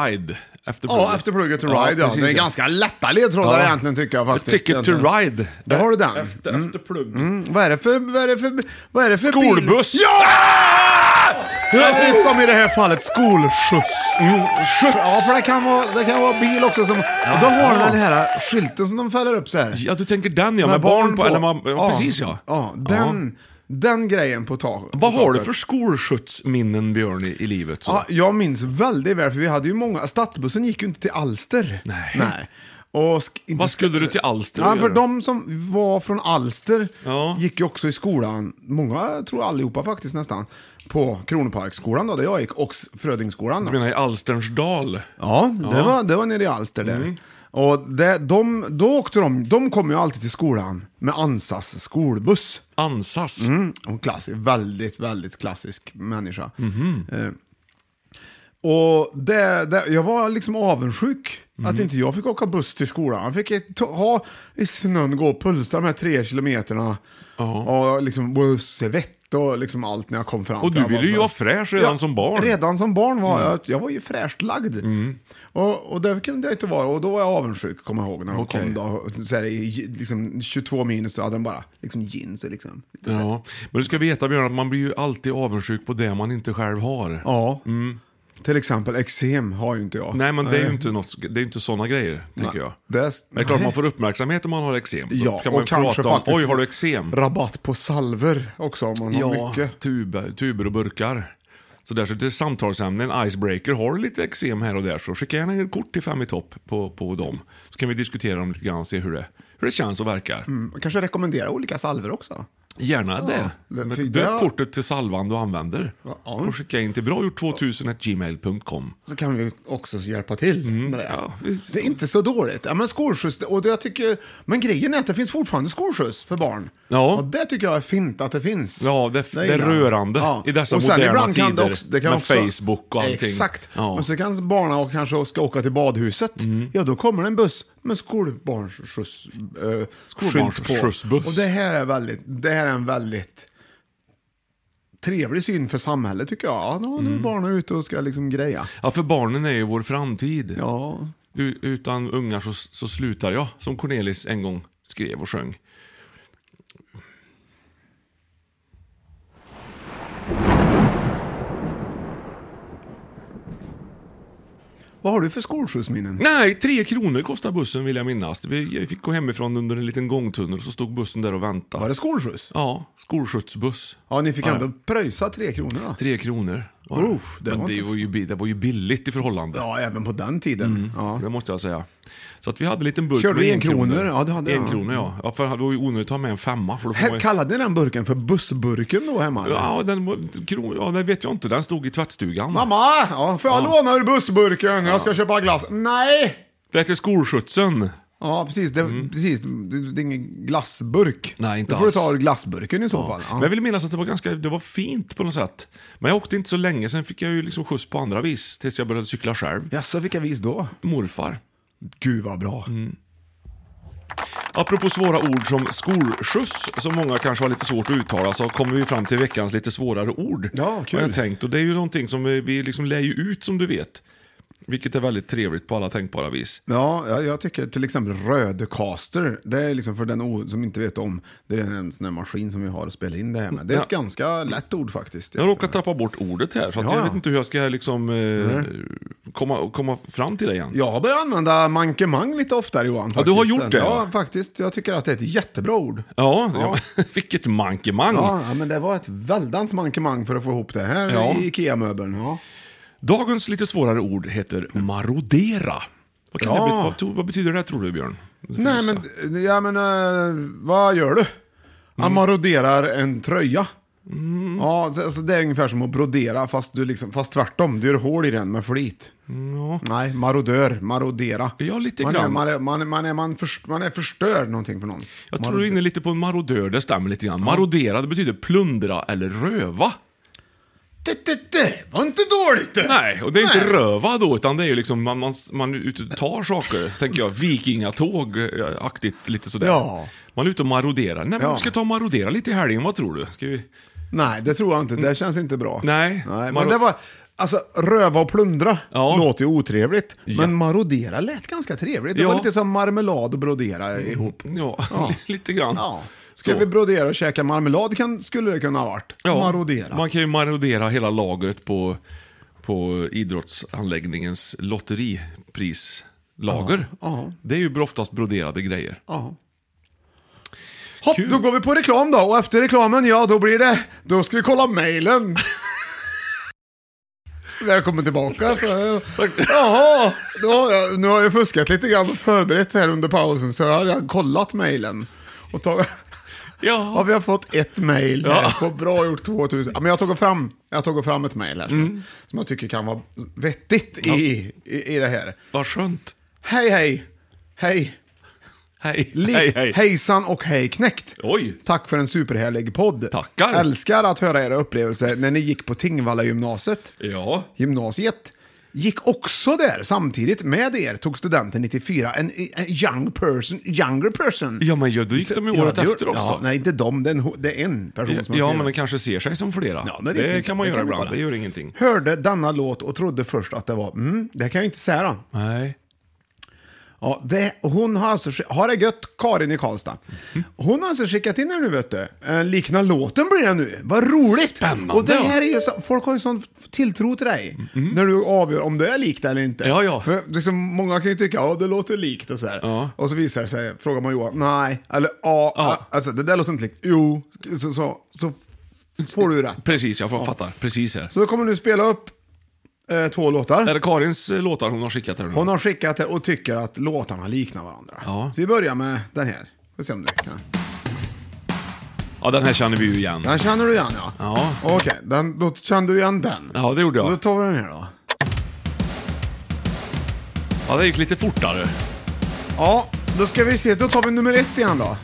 Speaker 1: ride. Efter plugget.
Speaker 3: Ja, efter plugget to ride ja.
Speaker 1: precis,
Speaker 3: Det är ganska lätta ledtrådar
Speaker 1: Ja.
Speaker 3: egentligen tycker jag faktiskt.
Speaker 1: Ticket to ride.
Speaker 3: Där har du den.
Speaker 1: Efter,
Speaker 3: Mm.
Speaker 1: efter plugg.
Speaker 3: Vad är det för... Vad är det för... Vad är det för bil?
Speaker 1: Skolbuss!
Speaker 3: Ja!
Speaker 1: Ah!
Speaker 3: Eller som i det här fallet, skolskjuts.
Speaker 1: Mm,
Speaker 3: Ja,
Speaker 1: sköts!
Speaker 3: för det kan vara, det kan vara bil också. Som, och då har den den här skylten som de fäller upp så här.
Speaker 1: Ja, du tänker den ja, med, barn, på. Eller man, ja, Precis ja.
Speaker 3: Ja, den, den grejen på taket.
Speaker 1: Vad har du för skolskjutsminnen, Björn, i, i livet? Så?
Speaker 3: Ja, jag minns väldigt väl, för vi hade ju många, stadsbussen gick ju inte till Alster.
Speaker 1: Nej.
Speaker 3: Och sk- inte
Speaker 1: Vad
Speaker 3: sk-
Speaker 1: skulle du till Alster
Speaker 3: Ja,
Speaker 1: och
Speaker 3: för
Speaker 1: göra?
Speaker 3: de som var från Alster
Speaker 1: Ja.
Speaker 3: gick ju också i skolan, många jag tror allihopa faktiskt nästan, på Kronoparksskolan då, där jag gick, och s- Frödingsskolan. Då.
Speaker 1: Jag menar i Alsternsdal.
Speaker 3: Ja, det,
Speaker 1: Ja. Mm.
Speaker 3: Var, det var nere i Alster där. Och det, de, då åkte de, de kom ju alltid till skolan med Ansas skolbuss.
Speaker 1: Ansas.
Speaker 3: Mm, och klassisk, väldigt, väldigt klassisk människa.
Speaker 1: Mhm.
Speaker 3: Eh, och det, det, jag var liksom avundsjuk att
Speaker 1: Mhm.
Speaker 3: inte jag fick åka buss till skolan. Jag fick ju ta, ha i snön, gå och pulsa de här tre kilometerna. Och liksom och svett och liksom allt när jag kom fram.
Speaker 1: Och du
Speaker 3: Jag
Speaker 1: ville
Speaker 3: var
Speaker 1: ju
Speaker 3: bara-
Speaker 1: vara fräsch redan
Speaker 3: Ja,
Speaker 1: som barn. Mm.
Speaker 3: Redan som barn var jag, jag var ju fräscht lagd. Och, och det kunde jag inte vara, och då var jag avundsjuk, kommer jag ihåg, när de
Speaker 1: Okej.
Speaker 3: kom då, så här, i liksom 22 minus, då hade de bara liksom jeans och liksom. Lite så här.
Speaker 1: Ja. Men du ska veta Björn att man blir ju alltid avundsjuk på det man inte själv har.
Speaker 3: Ja. Till exempel eksem har ju inte jag.
Speaker 1: Mm. Nej men det är ju inte, något, det är ju inte sådana grejer, tänker jag.
Speaker 3: Det är,
Speaker 1: Det är klart man får uppmärksamhet om man har eksem. Då
Speaker 3: Ja,
Speaker 1: kan man ju
Speaker 3: och kanske
Speaker 1: prata om,
Speaker 3: faktiskt-
Speaker 1: oj har du eksem?
Speaker 3: rabatt på salver också om man har
Speaker 1: Ja,
Speaker 3: mycket.
Speaker 1: tuber, tuber och burkar. Så där så det är samtalsämne, en icebreaker. Har du lite eksem här och där så skicka gärna ett kort till Fem i topp på, på dem. Så kan vi diskutera dem lite grann och se hur det, hur det känns och verkar.
Speaker 3: Mm, Kanske rekommendera olika salver också.
Speaker 1: Gärna det.
Speaker 3: det-
Speaker 1: Men
Speaker 3: för
Speaker 1: Döp
Speaker 3: det-
Speaker 1: kortet till salvan du använder. Och skicka in till bragjort2000gmail.com.
Speaker 3: Så kan vi också hjälpa till med det.
Speaker 1: Mm. ja, visst.
Speaker 3: det är inte så dåligt. Ja, men skolskjuts, och det jag tycker, men grejen är att det finns fortfarande skolskjuts för barn.
Speaker 1: Ja.
Speaker 3: Och det tycker jag är fint att det finns.
Speaker 1: Ja, det, det, är
Speaker 3: gillar jag.
Speaker 1: rörande
Speaker 3: Ja.
Speaker 1: i dessa
Speaker 3: Och sen
Speaker 1: moderna
Speaker 3: ibland
Speaker 1: tider.
Speaker 3: kan det också- det kan
Speaker 1: med
Speaker 3: också-
Speaker 1: Facebook och allting.
Speaker 3: Exakt.
Speaker 1: Ja. Mm.
Speaker 3: Men så kan barnen och kanske och ska åka till badhuset. Ja, då kommer det en buss med skolbarnsskjuts. Äh,
Speaker 1: Skolbarnsskjutsbuss.
Speaker 3: Och det här är väldigt, det här är en väldigt trevlig syn för samhället tycker jag. Ja, nu är
Speaker 1: Mm.
Speaker 3: barnen ute och ska liksom greja.
Speaker 1: ja, för barnen är ju vår framtid.
Speaker 3: Ja.
Speaker 1: U- utan ungar så, så slutar jag, som Cornelis en gång skrev och sjöng.
Speaker 3: Vad har du för skolskjutsminnen?
Speaker 1: Nej, tre kronor kostar bussen vill jag minnas. Vi fick gå hemifrån under en liten gångtunnel och så stod bussen där och
Speaker 3: Var
Speaker 1: väntade.
Speaker 3: det skolskjuts?
Speaker 1: Ja, skolskjutsbuss.
Speaker 3: Ja, ni fick
Speaker 1: Ja.
Speaker 3: ändå pröjsa tre kronor. då.
Speaker 1: Tre kronor. var det.
Speaker 3: Uff, Oh, det
Speaker 1: Men
Speaker 3: var
Speaker 1: det,
Speaker 3: inte-
Speaker 1: var ju, bi- det var ju billigt i förhållande.
Speaker 3: Ja, även på den tiden.
Speaker 1: Mm.
Speaker 3: Ja.
Speaker 1: Det måste jag säga. Så att vi hade en liten burk
Speaker 3: Körde
Speaker 1: med
Speaker 3: du en kronor?
Speaker 1: enkronor.
Speaker 3: Ja, det hade jag.
Speaker 1: en kronor, ja. ja för det var ju onödigt att ha med en femma. För då får man
Speaker 3: Här,
Speaker 1: ju...
Speaker 3: kallade ni den burken för bussburken då hemma? eller?
Speaker 1: Ja, den, var- kron... ja, det vet jag inte. Den stod i tvättstugan.
Speaker 3: Mamma! Ja, får jag
Speaker 1: Ja.
Speaker 3: låna ur bussburken? Jag ska köpa glass. Nej!
Speaker 1: Det hette skolskjutsen.
Speaker 3: Ja, precis. Det, precis. det, det är ingen glassburk.
Speaker 1: Mm. Nej, inte
Speaker 3: Då får du
Speaker 1: alls.
Speaker 3: ta ur glassburken i så fall.
Speaker 1: Men jag vill minnas att det var ganska det var fint på något sätt. Men jag åkte inte så länge, sen fick jag ju liksom skjuts på andra vis. Tills jag började cykla själv.
Speaker 3: Jaså, vilka vis då?
Speaker 1: Morfar.
Speaker 3: Gud vad bra.
Speaker 1: Mm. Apropå svåra ord som skolskjuts, som många kanske har lite svårt att uttala, så kommer vi fram till veckans lite svårare ord.
Speaker 3: Ja, kul.
Speaker 1: Har jag tänkt. Och det är ju någonting som vi, vi liksom lär ju ut som du vet. Vilket är väldigt trevligt på alla tänkbara vis.
Speaker 3: Ja, jag, jag tycker till exempel rödcaster, det är liksom för den o- som inte vet om, det är en sån här maskin som vi har att spela in det här med. Det är ett
Speaker 1: Ja.
Speaker 3: ganska lätt ord faktiskt.
Speaker 1: Jag råkar tappa bort ordet här, så att
Speaker 3: Ja. Mm.
Speaker 1: jag vet inte hur jag ska liksom, eh, komma, komma fram till det igen.
Speaker 3: Jag har börjat använda mankemang lite oftare Johan.
Speaker 1: Ja, du har
Speaker 3: faktiskt.
Speaker 1: gjort det,
Speaker 3: Ja,
Speaker 1: ja.
Speaker 3: faktiskt. Jag tycker att det är ett jättebra ord.
Speaker 1: Ja, ja. vilket mankemang.
Speaker 3: Ja, ja, men det var ett väldans mankemang för att få ihop det här
Speaker 1: Mm. Ja.
Speaker 3: i Ikea-möbeln. Ja.
Speaker 1: Dagens lite svårare ord heter marodera. Vad, kan
Speaker 3: Ja.
Speaker 1: det, bety- vad, to- vad betyder det här, tror du Björn? Du får
Speaker 3: Nej,
Speaker 1: gissa.
Speaker 3: men, ja, men eh, vad gör du?
Speaker 1: Mm.
Speaker 3: Han maroderar en tröja. Ja, så- alltså, det är ungefär som att brodera, fast, du liksom, fast tvärtom. Du gör hål i den med flit.
Speaker 1: Mm, Ja.
Speaker 3: Nej, marodör, marodera.
Speaker 1: Ja, lite
Speaker 3: man, är,
Speaker 1: grann.
Speaker 3: man, är, man, är, man, är, man, först, man är förstör någonting för någon.
Speaker 1: Jag tror du är inne lite på en marodör, det stämmer lite grann. Marodera, det betyder plundra eller röva.
Speaker 3: Det, det, det var inte dåligt det.
Speaker 1: Nej, och det är inte
Speaker 3: Nej.
Speaker 1: röva då, utan det är ju liksom man, man, man är ute och tar saker, tänker jag. Vikingatåg-aktigt, lite sådär.
Speaker 3: Ja.
Speaker 1: Man är ute och maroderar. Nej, men
Speaker 3: Ja.
Speaker 1: vi ska ta och marodera lite i helgen, vad tror du? Ska vi...
Speaker 3: Nej, det tror jag inte. Det känns inte bra.
Speaker 1: Mm. Nej.
Speaker 3: Nej men
Speaker 1: Maro-
Speaker 3: det var... Alltså, röva och plundra
Speaker 1: Ja.
Speaker 3: låter ju otrevligt.
Speaker 1: Ja.
Speaker 3: Men marodera lät ganska trevligt. Det
Speaker 1: Ja.
Speaker 3: var lite som marmelad och brodera ihop.
Speaker 1: Ja,
Speaker 3: Ja.
Speaker 1: lite grann.
Speaker 3: Ja. Ska
Speaker 1: Så.
Speaker 3: vi brodera och käka marmelad kan, skulle det kunna ha varit.
Speaker 1: Ja,
Speaker 3: Marodera.
Speaker 1: Man kan ju marodera hela lagret på, på idrottsanläggningens lotteriprislager.
Speaker 3: ja.
Speaker 1: Det är ju oftast broderade grejer.
Speaker 3: Ja. Hopp,
Speaker 1: Kul.
Speaker 3: då går vi på reklam då och efter reklamen, ja då blir det, då ska vi kolla mejlen. Välkommen tillbaka. Jaha, då har jag, nu har jag fuskat lite grann och förberett här under pausen så har jag kollat mejlen. Och tag, ja,
Speaker 1: Ja.
Speaker 3: vi har fått ett mejl här.
Speaker 1: Ja.
Speaker 3: på Bra gjort 2000. Ja, men jag har tagit fram, jag har tagit fram ett mejl här som, som jag tycker kan vara vettigt i, i, i det här.
Speaker 1: Vad skönt.
Speaker 3: Hej, hej. Hej.
Speaker 1: Hej,
Speaker 3: Li-
Speaker 1: hej, hej.
Speaker 3: Hejsan och hej knäckt!
Speaker 1: Oj.
Speaker 3: Tack för en superhärlig podd!
Speaker 1: Tackar.
Speaker 3: Älskar att höra era upplevelser när ni gick på Tingvalla gymnasiet.
Speaker 1: Ja.
Speaker 3: Gymnasiet gick också där samtidigt med er, tog studenten 94, en, en young person, younger person.
Speaker 1: Ja, men ja, då gick de ju
Speaker 3: Ja,
Speaker 1: året
Speaker 3: det gör-
Speaker 1: efter oss
Speaker 3: ja,
Speaker 1: då.
Speaker 3: Nej, inte de, det är en, det är en person som har
Speaker 1: Ja,
Speaker 3: skrivit.
Speaker 1: men den kanske ser sig som flera.
Speaker 3: Ja, men
Speaker 1: det
Speaker 3: det är riktigt.
Speaker 1: kan man
Speaker 3: Det
Speaker 1: göra
Speaker 3: kan vi
Speaker 1: ibland,
Speaker 3: kolla.
Speaker 1: det gör ingenting.
Speaker 3: Hörde denna låt och trodde först att det var, mm, det kan jag ju inte säga då.
Speaker 1: Nej.
Speaker 3: Ja, det, hon har alltså, skick- har det gött, Karin i Karlstad. Hon har alltså skickat in här nu vet du. Eh, likna låten blir det nu. Vad roligt!
Speaker 1: Spännande,
Speaker 3: Och det
Speaker 1: ja. Mm.
Speaker 3: här är ju så, folk har ju sån tilltro till dig. När du avgör om det är likt eller inte.
Speaker 1: Ja, ja.
Speaker 3: För liksom, många kan ju tycka, ja det låter likt och så här.
Speaker 1: Ja.
Speaker 3: Och så visar det sig, frågar man Johan, nej. Eller ja,
Speaker 1: Ja.
Speaker 3: ah, alltså det där låter inte likt. Jo, så, så, så får du rätt.
Speaker 1: Precis, jag får- fattar. Precis här.
Speaker 3: Så då kommer du spela upp eh, två låtar.
Speaker 1: Är det Karins eh, låtar hon har skickat här nu?
Speaker 3: Hon har skickat det och tycker att låtarna liknar varandra.
Speaker 1: Ja.
Speaker 3: Så vi börjar med den här. Får se om du kan.
Speaker 1: Ja, den här känner vi ju igen.
Speaker 3: Den känner du igen ja.
Speaker 1: Ja.
Speaker 3: Okej, den- då kände du igen den.
Speaker 1: Ja, det gjorde
Speaker 3: Då
Speaker 1: jag.
Speaker 3: tar vi den här då.
Speaker 1: Ja, det gick lite fortare.
Speaker 3: Ja, då ska vi se. Då tar vi nummer ett igen då.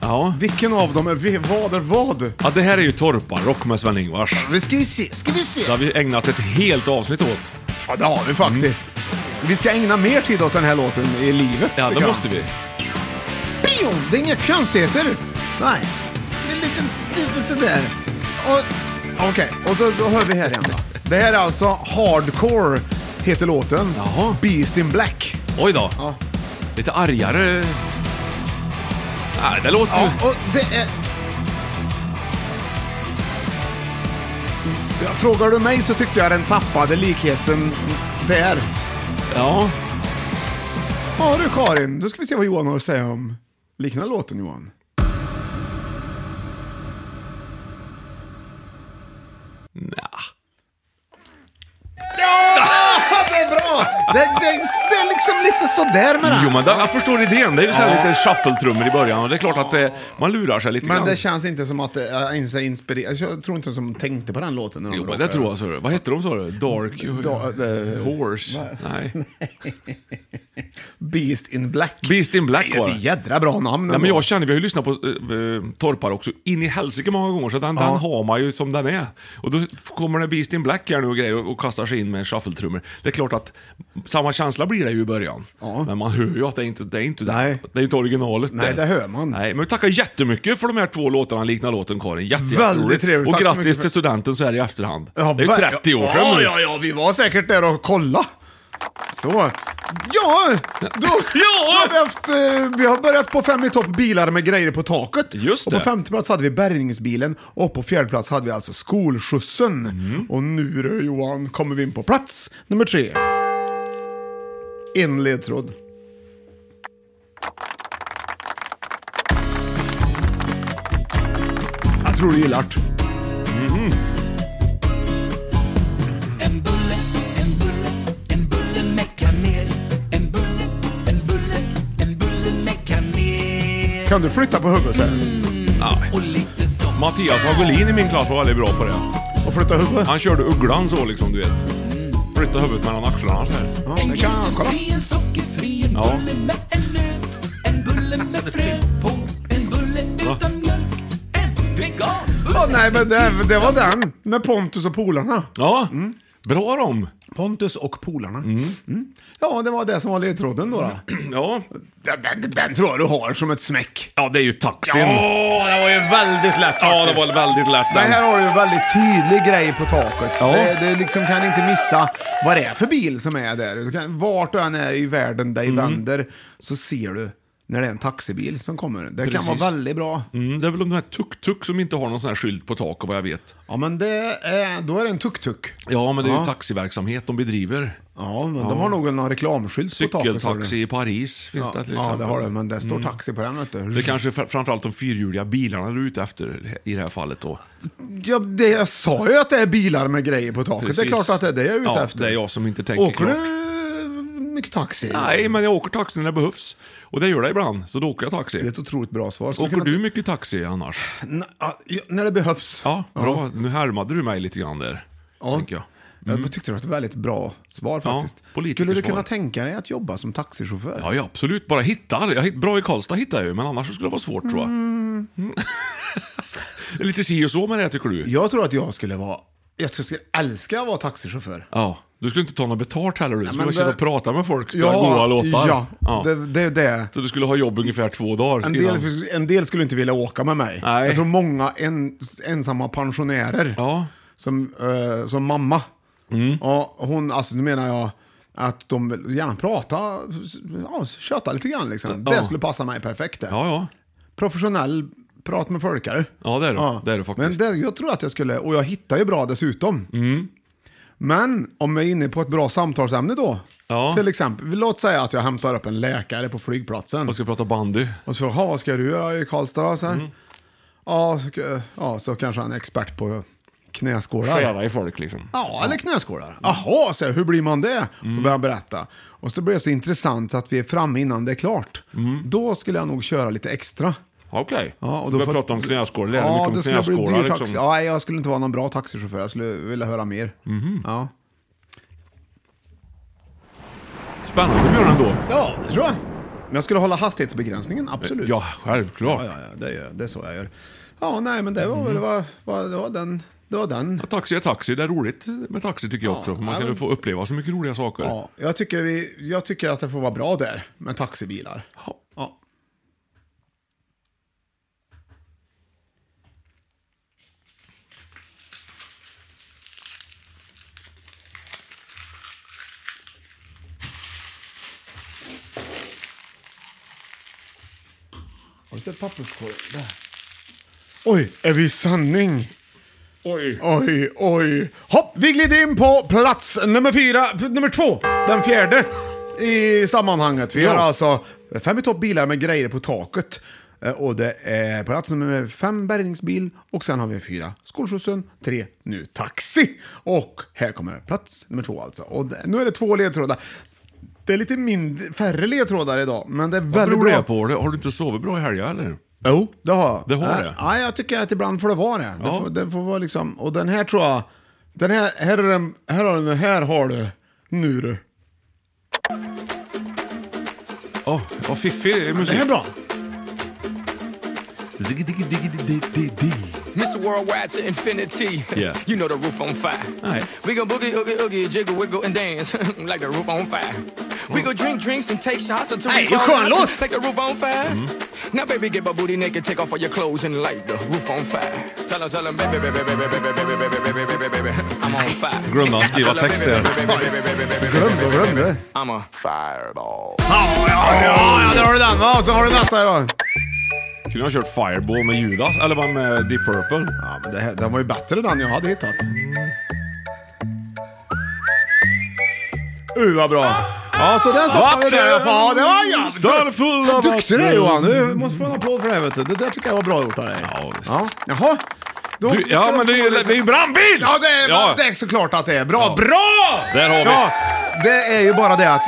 Speaker 1: Ja.
Speaker 3: Vilken av dem är vi- vad är vad?
Speaker 1: Ja, det här är ju Torparrock med Sven-Ingvars.
Speaker 3: Vi ska ju se, ska vi se.
Speaker 1: Det har vi ägnat ett helt avsnitt åt.
Speaker 3: Ja, det har vi faktiskt. Vi ska ägna mer tid åt den här låten i livet.
Speaker 1: Ja,
Speaker 3: tycker
Speaker 1: det
Speaker 3: jag.
Speaker 1: måste vi.
Speaker 3: Prio, Det är inga konstigheter. Nej. Det är lite, lite sådär. Och- Okej, och då, då hör vi här igen då. Det här är alltså Hardcore, heter låten.
Speaker 1: Jaha.
Speaker 3: Beast in Black.
Speaker 1: Oj då.
Speaker 3: Ja.
Speaker 1: Lite argare. Nej, det låter ju...
Speaker 3: Ja, och det är... Ja, Frågar du mig så tyckte jag den tappade likheten där.
Speaker 1: Ja.
Speaker 3: Ja du Karin, då ska vi se vad Johan har att säga om liknande låten Johan.
Speaker 1: Nja.
Speaker 3: Det är bra! Det, det, det är liksom lite sådär med den.
Speaker 1: Jo, men det, jag förstår idén. Det är ju så här lite shuffle-trummor i början och det är klart att det, man lurar sig lite
Speaker 3: Men
Speaker 1: grann.
Speaker 3: det känns inte som att eh, jag ens är inspirerad. Jag tror inte som tänkte på den låten. när de
Speaker 1: Jo, men
Speaker 3: rockade.
Speaker 1: det tror jag. Så. Vad heter de sa du? Dark...
Speaker 3: Da- eh,
Speaker 1: Horse? Nej.
Speaker 3: Beast in Black.
Speaker 1: Beast in Black
Speaker 3: det är
Speaker 1: var
Speaker 3: ett
Speaker 1: det.
Speaker 3: jädra bra namn.
Speaker 1: Ja, men
Speaker 3: ändå.
Speaker 1: jag känner, vi har ju lyssnat på äh, Torpar också in i helsike många gånger, så den, den har man ju som den är. Och då kommer det Beast in Black här nu och grejer och, och kastar sig in med shuffle-trummor. Det är klart att samma känsla blir det ju i början.
Speaker 3: Ja.
Speaker 1: Men man hör ju att det är inte det är inte,
Speaker 3: Nej.
Speaker 1: Det är inte originalet.
Speaker 3: Nej, det hör man.
Speaker 1: Nej, men vi tackar jättemycket för de här två låtarna, liknar låten Karin. Jätte,
Speaker 3: Väldigt
Speaker 1: jätteroligt.
Speaker 3: trevligt.
Speaker 1: Och
Speaker 3: Tack så mycket
Speaker 1: grattis
Speaker 3: för-
Speaker 1: till studenten så här i efterhand.
Speaker 3: Ja,
Speaker 1: det är ju
Speaker 3: ver-
Speaker 1: 30 år sedan
Speaker 3: ja,
Speaker 1: nu.
Speaker 3: ja, ja, vi var säkert där och kolla. Så. Ja! Då, då har vi, haft, eh, vi har börjat på fem i topp bilar med grejer på taket.
Speaker 1: Just
Speaker 3: och på
Speaker 1: det.
Speaker 3: femte plats hade vi bärgningsbilen och på fjärde plats hade vi alltså skolskjutsen.
Speaker 1: Mm.
Speaker 3: Och nu då, Johan kommer vi in på plats nummer tre. En ledtråd. Jag tror du gillar det.
Speaker 6: En bulle, en bulle, en bulle med kanel. En bulle, en bulle, en bulle med kanel.
Speaker 3: Kan du flytta på huvudet sen?
Speaker 6: Och lite socker.
Speaker 1: Mattias Hagelin i min klass var väldigt bra på det.
Speaker 3: Och flytta huvudet?
Speaker 1: Han körde ugglan så liksom, du vet.
Speaker 6: Mm.
Speaker 1: Flytta huvudet mellan axlarna så här.
Speaker 3: Ja, det kan jag. Kolla.
Speaker 6: En sockerfri, en
Speaker 1: Ja.
Speaker 6: bulle med en nöt. En bulle med frö på. En bulle utan mjölk. En veganbulle.
Speaker 3: Ja, nej, men det, det var den. Med Pontus och polarna.
Speaker 1: Ja,
Speaker 3: Mm.
Speaker 1: bra dem.
Speaker 3: Pontus och polarna. Mm. Ja, det var det som var ledtråden då. då.
Speaker 1: Ja.
Speaker 3: Den, den, den tror jag du har som ett smäck.
Speaker 1: ja, det är ju taxin. Ja,
Speaker 3: det var ju väldigt lätt
Speaker 1: ja det var väldigt lätt
Speaker 3: Men
Speaker 1: den.
Speaker 3: här har du en väldigt tydlig grej på taket.
Speaker 1: Ja.
Speaker 3: Det, det liksom kan inte missa Mm. vad det är för bil som är där. Du kan, vart du än är i världen dig vänder så ser du när det är en taxibil som kommer. Det kan
Speaker 1: Precis.
Speaker 3: vara väldigt bra.
Speaker 1: Mm, det är väl de här tuk-tuk som inte har någon sån här skylt på taket vad jag vet.
Speaker 3: Ja, men det är, då är det en tuk-tuk.
Speaker 1: Ja, men det är ju
Speaker 3: Ja.
Speaker 1: taxiverksamhet de bedriver.
Speaker 3: Ja, men de har nog någon reklamskylt på taket. sa du.
Speaker 1: Cykeltaxi i Paris finns det till
Speaker 3: Ja, ja,
Speaker 1: exempel. Mm.
Speaker 3: det har det, men det står taxi på den. Vet du.
Speaker 1: Det är kanske fr- framförallt de fyrhjuliga bilarna du är ute efter i det här fallet då.
Speaker 3: ja, det, jag sa ju att det är bilar med grejer på taket. Det är
Speaker 1: Precis.
Speaker 3: klart att det är det jag är ute
Speaker 1: ja,
Speaker 3: efter.
Speaker 1: det är jag som inte tänker
Speaker 3: Åker
Speaker 1: klart.
Speaker 3: du mycket taxi?
Speaker 1: Nej, men jag åker taxi när det behövs. Och det gör det ibland, så då åker jag
Speaker 3: Det är
Speaker 1: taxi.
Speaker 3: ett otroligt bra svar. Skulle
Speaker 1: Åker
Speaker 3: kunna-
Speaker 1: du mycket taxi annars?
Speaker 3: N- ja, när det behövs.
Speaker 1: Ja, bra. Nu härmade du mig lite grann där.
Speaker 3: Ja.
Speaker 1: Tänker jag.
Speaker 3: Jag tyckte det var ett väldigt bra svar
Speaker 1: Mm. Ja,
Speaker 3: faktiskt.
Speaker 1: politikersvar.
Speaker 3: Skulle du kunna tänka dig att jobba som taxichaufför?
Speaker 1: Ja, ja, absolut. Bara hittar. Jag hitt, bra i Karlstad hittar jag ju, men annars skulle det vara svårt tror jag. Mm. Det är Lite si och så med det tycker du?
Speaker 3: Jag tror att jag skulle vara... Jag tror jag skulle älska att vara taxichaufför.
Speaker 1: Ja. Du skulle inte ta något betalt heller du. Du skulle
Speaker 3: men
Speaker 1: bara sitta
Speaker 3: det-
Speaker 1: och prata med folk, spela goa låtar.
Speaker 3: Ja, Det, det är det.
Speaker 1: Så du skulle ha jobb ungefär två dagar
Speaker 3: En
Speaker 1: innan.
Speaker 3: del, en del skulle inte vilja åka med mig.
Speaker 1: Nej.
Speaker 3: Jag tror många en, ensamma pensionärer,
Speaker 1: Ja. Mm.
Speaker 3: som, eh, som mamma, ja, hon, alltså nu menar jag att de vill gärna prata, ja, köta lite grann liksom.
Speaker 1: Ja.
Speaker 3: Det skulle passa mig perfekt. det.
Speaker 1: ja, ja.
Speaker 3: Professionell prat med folkare.
Speaker 1: Ja, det är du. Det är du faktiskt. Mm.
Speaker 3: Men det, jag tror att jag skulle, och jag hittar ju bra dessutom. Men om jag är inne på ett bra samtalsämne då,
Speaker 1: Ja.
Speaker 3: till exempel, låt säga att jag hämtar upp en läkare på flygplatsen.
Speaker 1: Jag ska prata bandy.
Speaker 3: Och så, "Jaha, vad ska du göra i Karlstad då? Så,
Speaker 1: Mm.
Speaker 3: här. Ja, så, ja, så kanske han är expert på knäskålar.
Speaker 1: Skära i folk liksom.
Speaker 3: Ja, eller
Speaker 1: Mm.
Speaker 3: knäskålar. Jaha, så, här, hur blir man det? Så börjar han berätta. Och så blir det så intressant så att vi är framme innan det är klart.
Speaker 1: Mm.
Speaker 3: Då skulle jag nog köra lite extra.
Speaker 1: Ja, Okej.
Speaker 3: Ja, och
Speaker 1: Så
Speaker 3: då
Speaker 1: börjar
Speaker 3: får-
Speaker 1: prata om knäskålar. Lära
Speaker 3: Ja,
Speaker 1: mycket om
Speaker 3: det skulle bli
Speaker 1: knäskålar
Speaker 3: dyr taxi.
Speaker 1: liksom.
Speaker 3: Ja, nej, jag skulle inte vara någon bra taxichaufför. Jag skulle vilja höra mer.
Speaker 1: Mm-hmm.
Speaker 3: Ja.
Speaker 1: Spännande Björn ändå.
Speaker 3: ja, det tror jag. Men jag skulle hålla hastighetsbegränsningen, absolut.
Speaker 1: Ja, självklart.
Speaker 3: ja, ja, ja det, gör, det är så jag gör. Ja, nej, men det var,
Speaker 1: Mm-hmm.
Speaker 3: det var, var, det var den. Det var den.
Speaker 1: Ja, Taxi är taxi. Det är roligt med taxi tycker jag också. För man
Speaker 3: ja,
Speaker 1: kan ju
Speaker 3: men-
Speaker 1: få uppleva så mycket roliga saker.
Speaker 3: Ja, jag, tycker vi, jag tycker att det får vara bra där med taxibilar.
Speaker 1: Ja.
Speaker 3: Ja. Har du sett papperskorgen? Där. Oj, är vi i sanning?
Speaker 1: Oj.
Speaker 3: Oj, oj. Hopp, vi glider in på plats nummer fyra, p- nummer två, den fjärde i sammanhanget. Vi har alltså fem i topp bilar med grejer på taket. Eh, Och det är plats nummer fem bärgningsbil och sen har vi fyra skolskjutsen, tre nu taxi. Och här kommer plats nummer två alltså. Och det, nu är det två ledtrådar. Det är lite mindre, färre ledtrådar idag, men det är
Speaker 1: Vad
Speaker 3: väldigt
Speaker 1: beror
Speaker 3: bra.
Speaker 1: det på? Har du inte sovit bra i helgen eller?
Speaker 3: Jo, det har jag.
Speaker 1: Det har
Speaker 3: Nej,
Speaker 1: det.
Speaker 3: Nej, jag tycker att ibland får det vara det.
Speaker 1: Ja.
Speaker 3: Det, får, det får vara liksom, och den här tror jag, den här, här, är den, här har du, den här har du, nu du.
Speaker 1: Ja, ja fiffig
Speaker 3: Det här är
Speaker 1: musik.
Speaker 3: bra.
Speaker 7: Mr. Worldwide to infinity.
Speaker 1: Yeah.
Speaker 7: You know the roof on fire.
Speaker 1: Alright.
Speaker 7: We gon' boogie, oogie, oogie, jiggle, wiggle, and dance like the roof on fire. We go drink drinks and take shots until
Speaker 3: Hey,
Speaker 7: we
Speaker 3: you
Speaker 7: fall
Speaker 3: can't
Speaker 7: out,
Speaker 3: lose.
Speaker 7: like the roof on fire. Now, baby, get my booty naked, take off all your clothes and light the roof on fire. Tell her, tell her, baby, baby, baby, baby, baby, baby, baby, baby, baby, baby, I'm on fire.
Speaker 1: Glömde han skriva
Speaker 7: Tell her,
Speaker 1: text
Speaker 7: baby,
Speaker 1: där.
Speaker 7: baby, baby, baby, baby, baby,
Speaker 3: Glömde, glömde.
Speaker 7: I'm a fireball.
Speaker 3: Ja, ja, där har du den. Ja, så har du nästa här då.
Speaker 1: Kunde ha kört Fireball med Judas, eller vad med Deep Purple.
Speaker 3: Ja, men det här, den var ju bättre den jag hade hittat. Uh, vad bra. Ja, så den stoppade vi där. Ja, det var ja.
Speaker 1: Stör full av
Speaker 3: Duktig du är
Speaker 1: vatten.
Speaker 3: Johan. Du måste få en applåd för det här vet du. Det där tycker jag var bra gjort av dig.
Speaker 1: Ja, visst.
Speaker 3: Ja. Jaha. Då-
Speaker 1: Du, ja, men det är ju det är ju brandbil!
Speaker 3: Ja, det är,
Speaker 1: Ja.
Speaker 3: det är såklart att det är bra. Bra!
Speaker 1: Där har vi.
Speaker 3: Ja, det är ju bara det att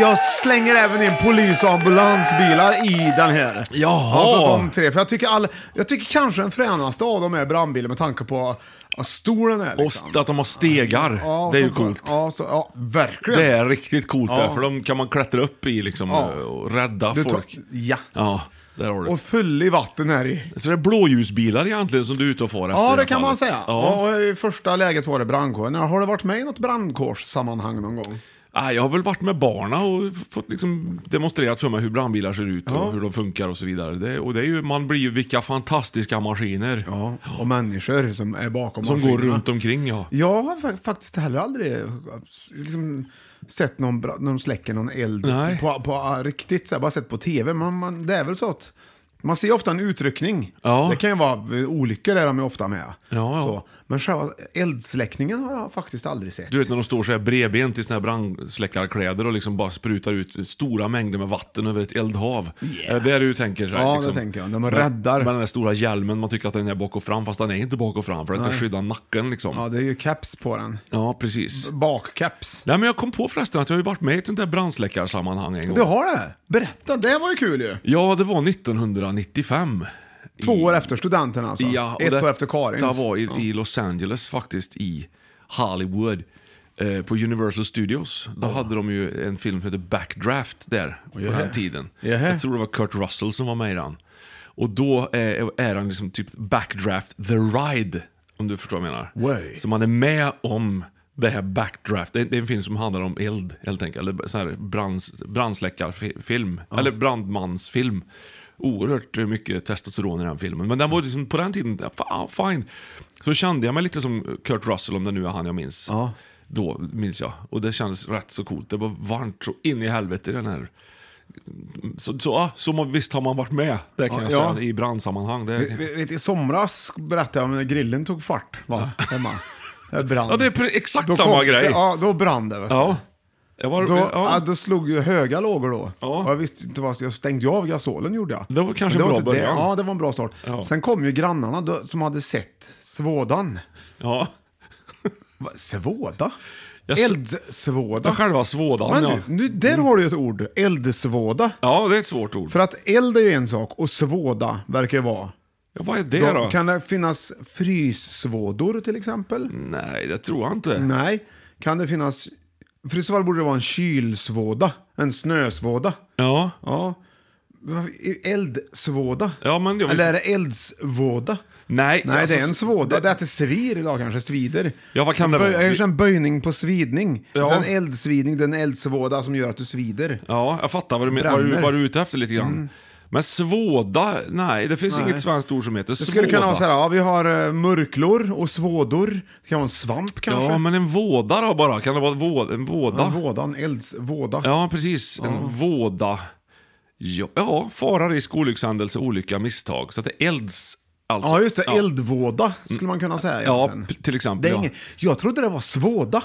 Speaker 3: jag slänger även in polis och ambulansbilar i den här.
Speaker 1: Jaha.
Speaker 3: Alltså de tre. För jag tycker, all, jag tycker kanske den fränaste av dem är brandbilen med tanke på hur stor den är.
Speaker 1: Och
Speaker 3: Liksom.
Speaker 1: st- att de har stegar.
Speaker 3: Ja,
Speaker 1: det är ju
Speaker 3: så-
Speaker 1: coolt.
Speaker 3: Ja, så, ja verkligen.
Speaker 1: Det är riktigt coolt
Speaker 3: Ja.
Speaker 1: där, för de kan man klättra upp i liksom
Speaker 3: Ja.
Speaker 1: och rädda
Speaker 3: Du tar-
Speaker 1: folk.
Speaker 3: Ja.
Speaker 1: Ja, där har du det.
Speaker 3: Och full i vatten här i.
Speaker 1: Så det är blåljusbilar egentligen som du är ute och far efter?
Speaker 3: Ja,
Speaker 1: i
Speaker 3: det
Speaker 1: det
Speaker 3: kan man
Speaker 1: fallet.
Speaker 3: säga.
Speaker 1: Ja.
Speaker 3: Ja. och I första läget var det brandkåren. Har du varit med i något brandkårssammanhang någon gång?
Speaker 1: Ah, jag har väl varit med barna och fått liksom demonstrerat för mig hur brandbilar ser ut och hur de funkar och så vidare. Det, och det är ju, man blir ju vilka fantastiska maskiner
Speaker 3: Ja, och människor som är bakom
Speaker 1: som går
Speaker 3: maskinerna.
Speaker 1: runt omkring. Ja.
Speaker 3: Jag har fa- faktiskt heller aldrig eh, liksom, sett någon, bra, någon släcker någon eld
Speaker 1: Nej.
Speaker 3: på, på riktigt. Så här, bara sett på tv. Man, man, det är väl så att man ser ofta en utryckning.
Speaker 1: Ja.
Speaker 3: Det kan ju vara eh, olyckor där de är ofta med.
Speaker 1: ja.
Speaker 3: Så. Men själva eldsläckningen har jag faktiskt aldrig sett.
Speaker 1: Du vet när de står så här bredbent i sina här brandsläckarkläder och liksom bara sprutar ut stora mängder med vatten över ett eldhav. Är det det du tänker? så här,
Speaker 3: Ja, det
Speaker 1: liksom?
Speaker 3: tänker jag. De
Speaker 1: Men-
Speaker 3: räddar.
Speaker 1: Med den där stora hjälmen, man tycker att den är bak och fram, fast den är inte bak och fram för den ska skydda nacken liksom.
Speaker 3: Ja,
Speaker 1: Ja,
Speaker 3: det är ju caps på den.
Speaker 1: precis.
Speaker 3: Bakcaps.
Speaker 1: Nej men jag kom på förresten att jag har ju varit med i ett sånt där brandsläckarsammanhang en gång.
Speaker 3: Du har det? Berätta, det var ju kul ju.
Speaker 1: Ja, det var 1995.
Speaker 3: Två
Speaker 1: I-
Speaker 3: år efter studenten alltså.
Speaker 1: Ja, och
Speaker 3: Ett
Speaker 1: det-
Speaker 3: år efter Karins.
Speaker 1: Det var i, i Los Angeles faktiskt, i Hollywood. Eh, på Universal Studios. Då hade de ju en film som hette Backdraft där, på den tiden.
Speaker 3: Jaha.
Speaker 1: Jag tror det var Kurt Russell som var med i den. Och då eh, är han liksom typ Backdraft the Ride, om du förstår vad jag menar.
Speaker 3: Way.
Speaker 1: Så man är med om det här Backdraft. Det är, det är en film som handlar om eld, helt enkelt. Eller så här brands, brandsläckarfilm. Eller brandmansfilm. Oerhört mycket testosteron i den filmen. Men den var liksom, på den tiden, fa- fine. Så kände jag mig lite som Kurt Russell, om det nu är han jag minns. Då minns jag. Och det kändes rätt så coolt. Det var varmt så in i helvete i den här. Så, så, ja, så man, visst har man varit med, det kan jag
Speaker 3: Ja.
Speaker 1: säga, i brandsammanhang. Det,
Speaker 3: Vi- vi- I somras berättade jag om när grillen tog fart va? hemma. Det brann.
Speaker 1: ja, det är pre- exakt
Speaker 3: Då
Speaker 1: samma
Speaker 3: kom-
Speaker 1: grej.
Speaker 3: Ja, då brann det. Vet du.
Speaker 1: Ja. Jag var,
Speaker 3: Då,
Speaker 1: ja.
Speaker 3: ja. då slog ju höga lågor då.
Speaker 1: Ja.
Speaker 3: Och jag visste inte vad jag stängde ju av gasolen gjorde jag.
Speaker 1: Det var kanske
Speaker 3: Men
Speaker 1: en bra
Speaker 3: inte det.
Speaker 1: början.
Speaker 3: Ja, det var en bra start.
Speaker 1: Ja.
Speaker 3: Sen kom ju grannarna då, som hade sett svådan.
Speaker 1: ja.
Speaker 3: Va, svåda?
Speaker 1: Jag s-
Speaker 3: Eldsvåda.
Speaker 1: Ja, själva svådan
Speaker 3: Men
Speaker 1: ja.
Speaker 3: du, nu, där
Speaker 1: Mm.
Speaker 3: har du ju ett ord. Eldsvåda.
Speaker 1: Ja, det är ett svårt ord.
Speaker 3: För att eld är ju en sak och svåda verkar ju vara.
Speaker 1: Ja, vad är det Mm.
Speaker 3: Då,
Speaker 1: då?
Speaker 3: Kan det finnas fryssvådor till exempel?
Speaker 1: Nej, det tror jag inte.
Speaker 3: Nej. Kan det finnas... För i så fall borde det vara en kylsvåda. En snösvåda.
Speaker 1: Ja.
Speaker 3: Ja. Vad- Eldsvåda?
Speaker 1: Ja, men jag vill-
Speaker 3: Eller är det eldsvåda?
Speaker 1: Nej,
Speaker 3: Nej,
Speaker 1: alltså,
Speaker 3: det är en svåda. Det är att det svir idag kanske, svider.
Speaker 1: Ja, vad kan det
Speaker 3: Böj-
Speaker 1: vara?
Speaker 3: Kanske en böjning på svidning.
Speaker 1: Ja.
Speaker 3: Sen eldsvidning, den eldsvåda som gör att du svider.
Speaker 1: Ja, jag fattar vad du, men- vad du,
Speaker 3: Bränner.
Speaker 1: vad du är ute efter lite grann.
Speaker 3: Mm.
Speaker 1: Men svåda? Nej, det finns inget svenskt ord som heter
Speaker 3: Det
Speaker 1: svåda.
Speaker 3: skulle kunna vara så här, ja, vi har eh, mörklor och svådor. Det kan vara en svamp kanske.
Speaker 1: Ja, men en våda då bara? Kan det vara vå- en våda?
Speaker 3: En vådan, eldsvåda.
Speaker 1: Ja, precis. En våda. Ja, ja, fara, risk, olyckshändelse, olycka, misstag. Så att det elds... Alltså,
Speaker 3: Ja, just det. Eldvåda skulle man kunna säga.
Speaker 1: Ja,
Speaker 3: egentligen.
Speaker 1: p- till exempel,
Speaker 3: Det är
Speaker 1: ja.
Speaker 3: inget, jag trodde det var svåda.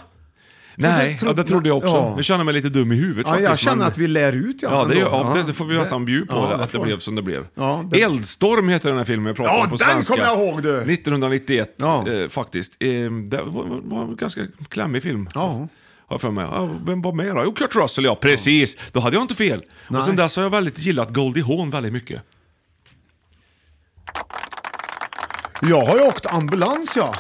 Speaker 1: Nej,
Speaker 3: tro-
Speaker 1: ja, det trodde jag också.
Speaker 3: Ja.
Speaker 1: Jag känner mig lite dum i huvudet
Speaker 3: Ja,
Speaker 1: faktiskt.
Speaker 3: jag känner
Speaker 1: men-
Speaker 3: att vi lär ut ja,
Speaker 1: Ja, det, är-
Speaker 3: ändå.
Speaker 1: ja, det får vi nästan bjuda på,
Speaker 3: ja,
Speaker 1: att det
Speaker 3: får-
Speaker 1: blev som det blev.
Speaker 3: Ja, det-
Speaker 1: Eldstorm heter den här filmen jag pratade
Speaker 3: Ja,
Speaker 1: om på
Speaker 3: den
Speaker 1: svenska.
Speaker 3: kommer jag ihåg, du.
Speaker 1: 1991,
Speaker 3: Ja.
Speaker 1: eh, faktiskt. Eh, det var, var- var en ganska klämmig film.
Speaker 3: Ja.
Speaker 1: Har jag för mig. Ja, vem var med då? Jo, Kurt Russell ja, precis! Då hade jag inte fel.
Speaker 3: Nej.
Speaker 1: Och sen dess har jag väldigt gillat Goldie Hawn väldigt mycket.
Speaker 3: Jag har ju åkt ambulans ja.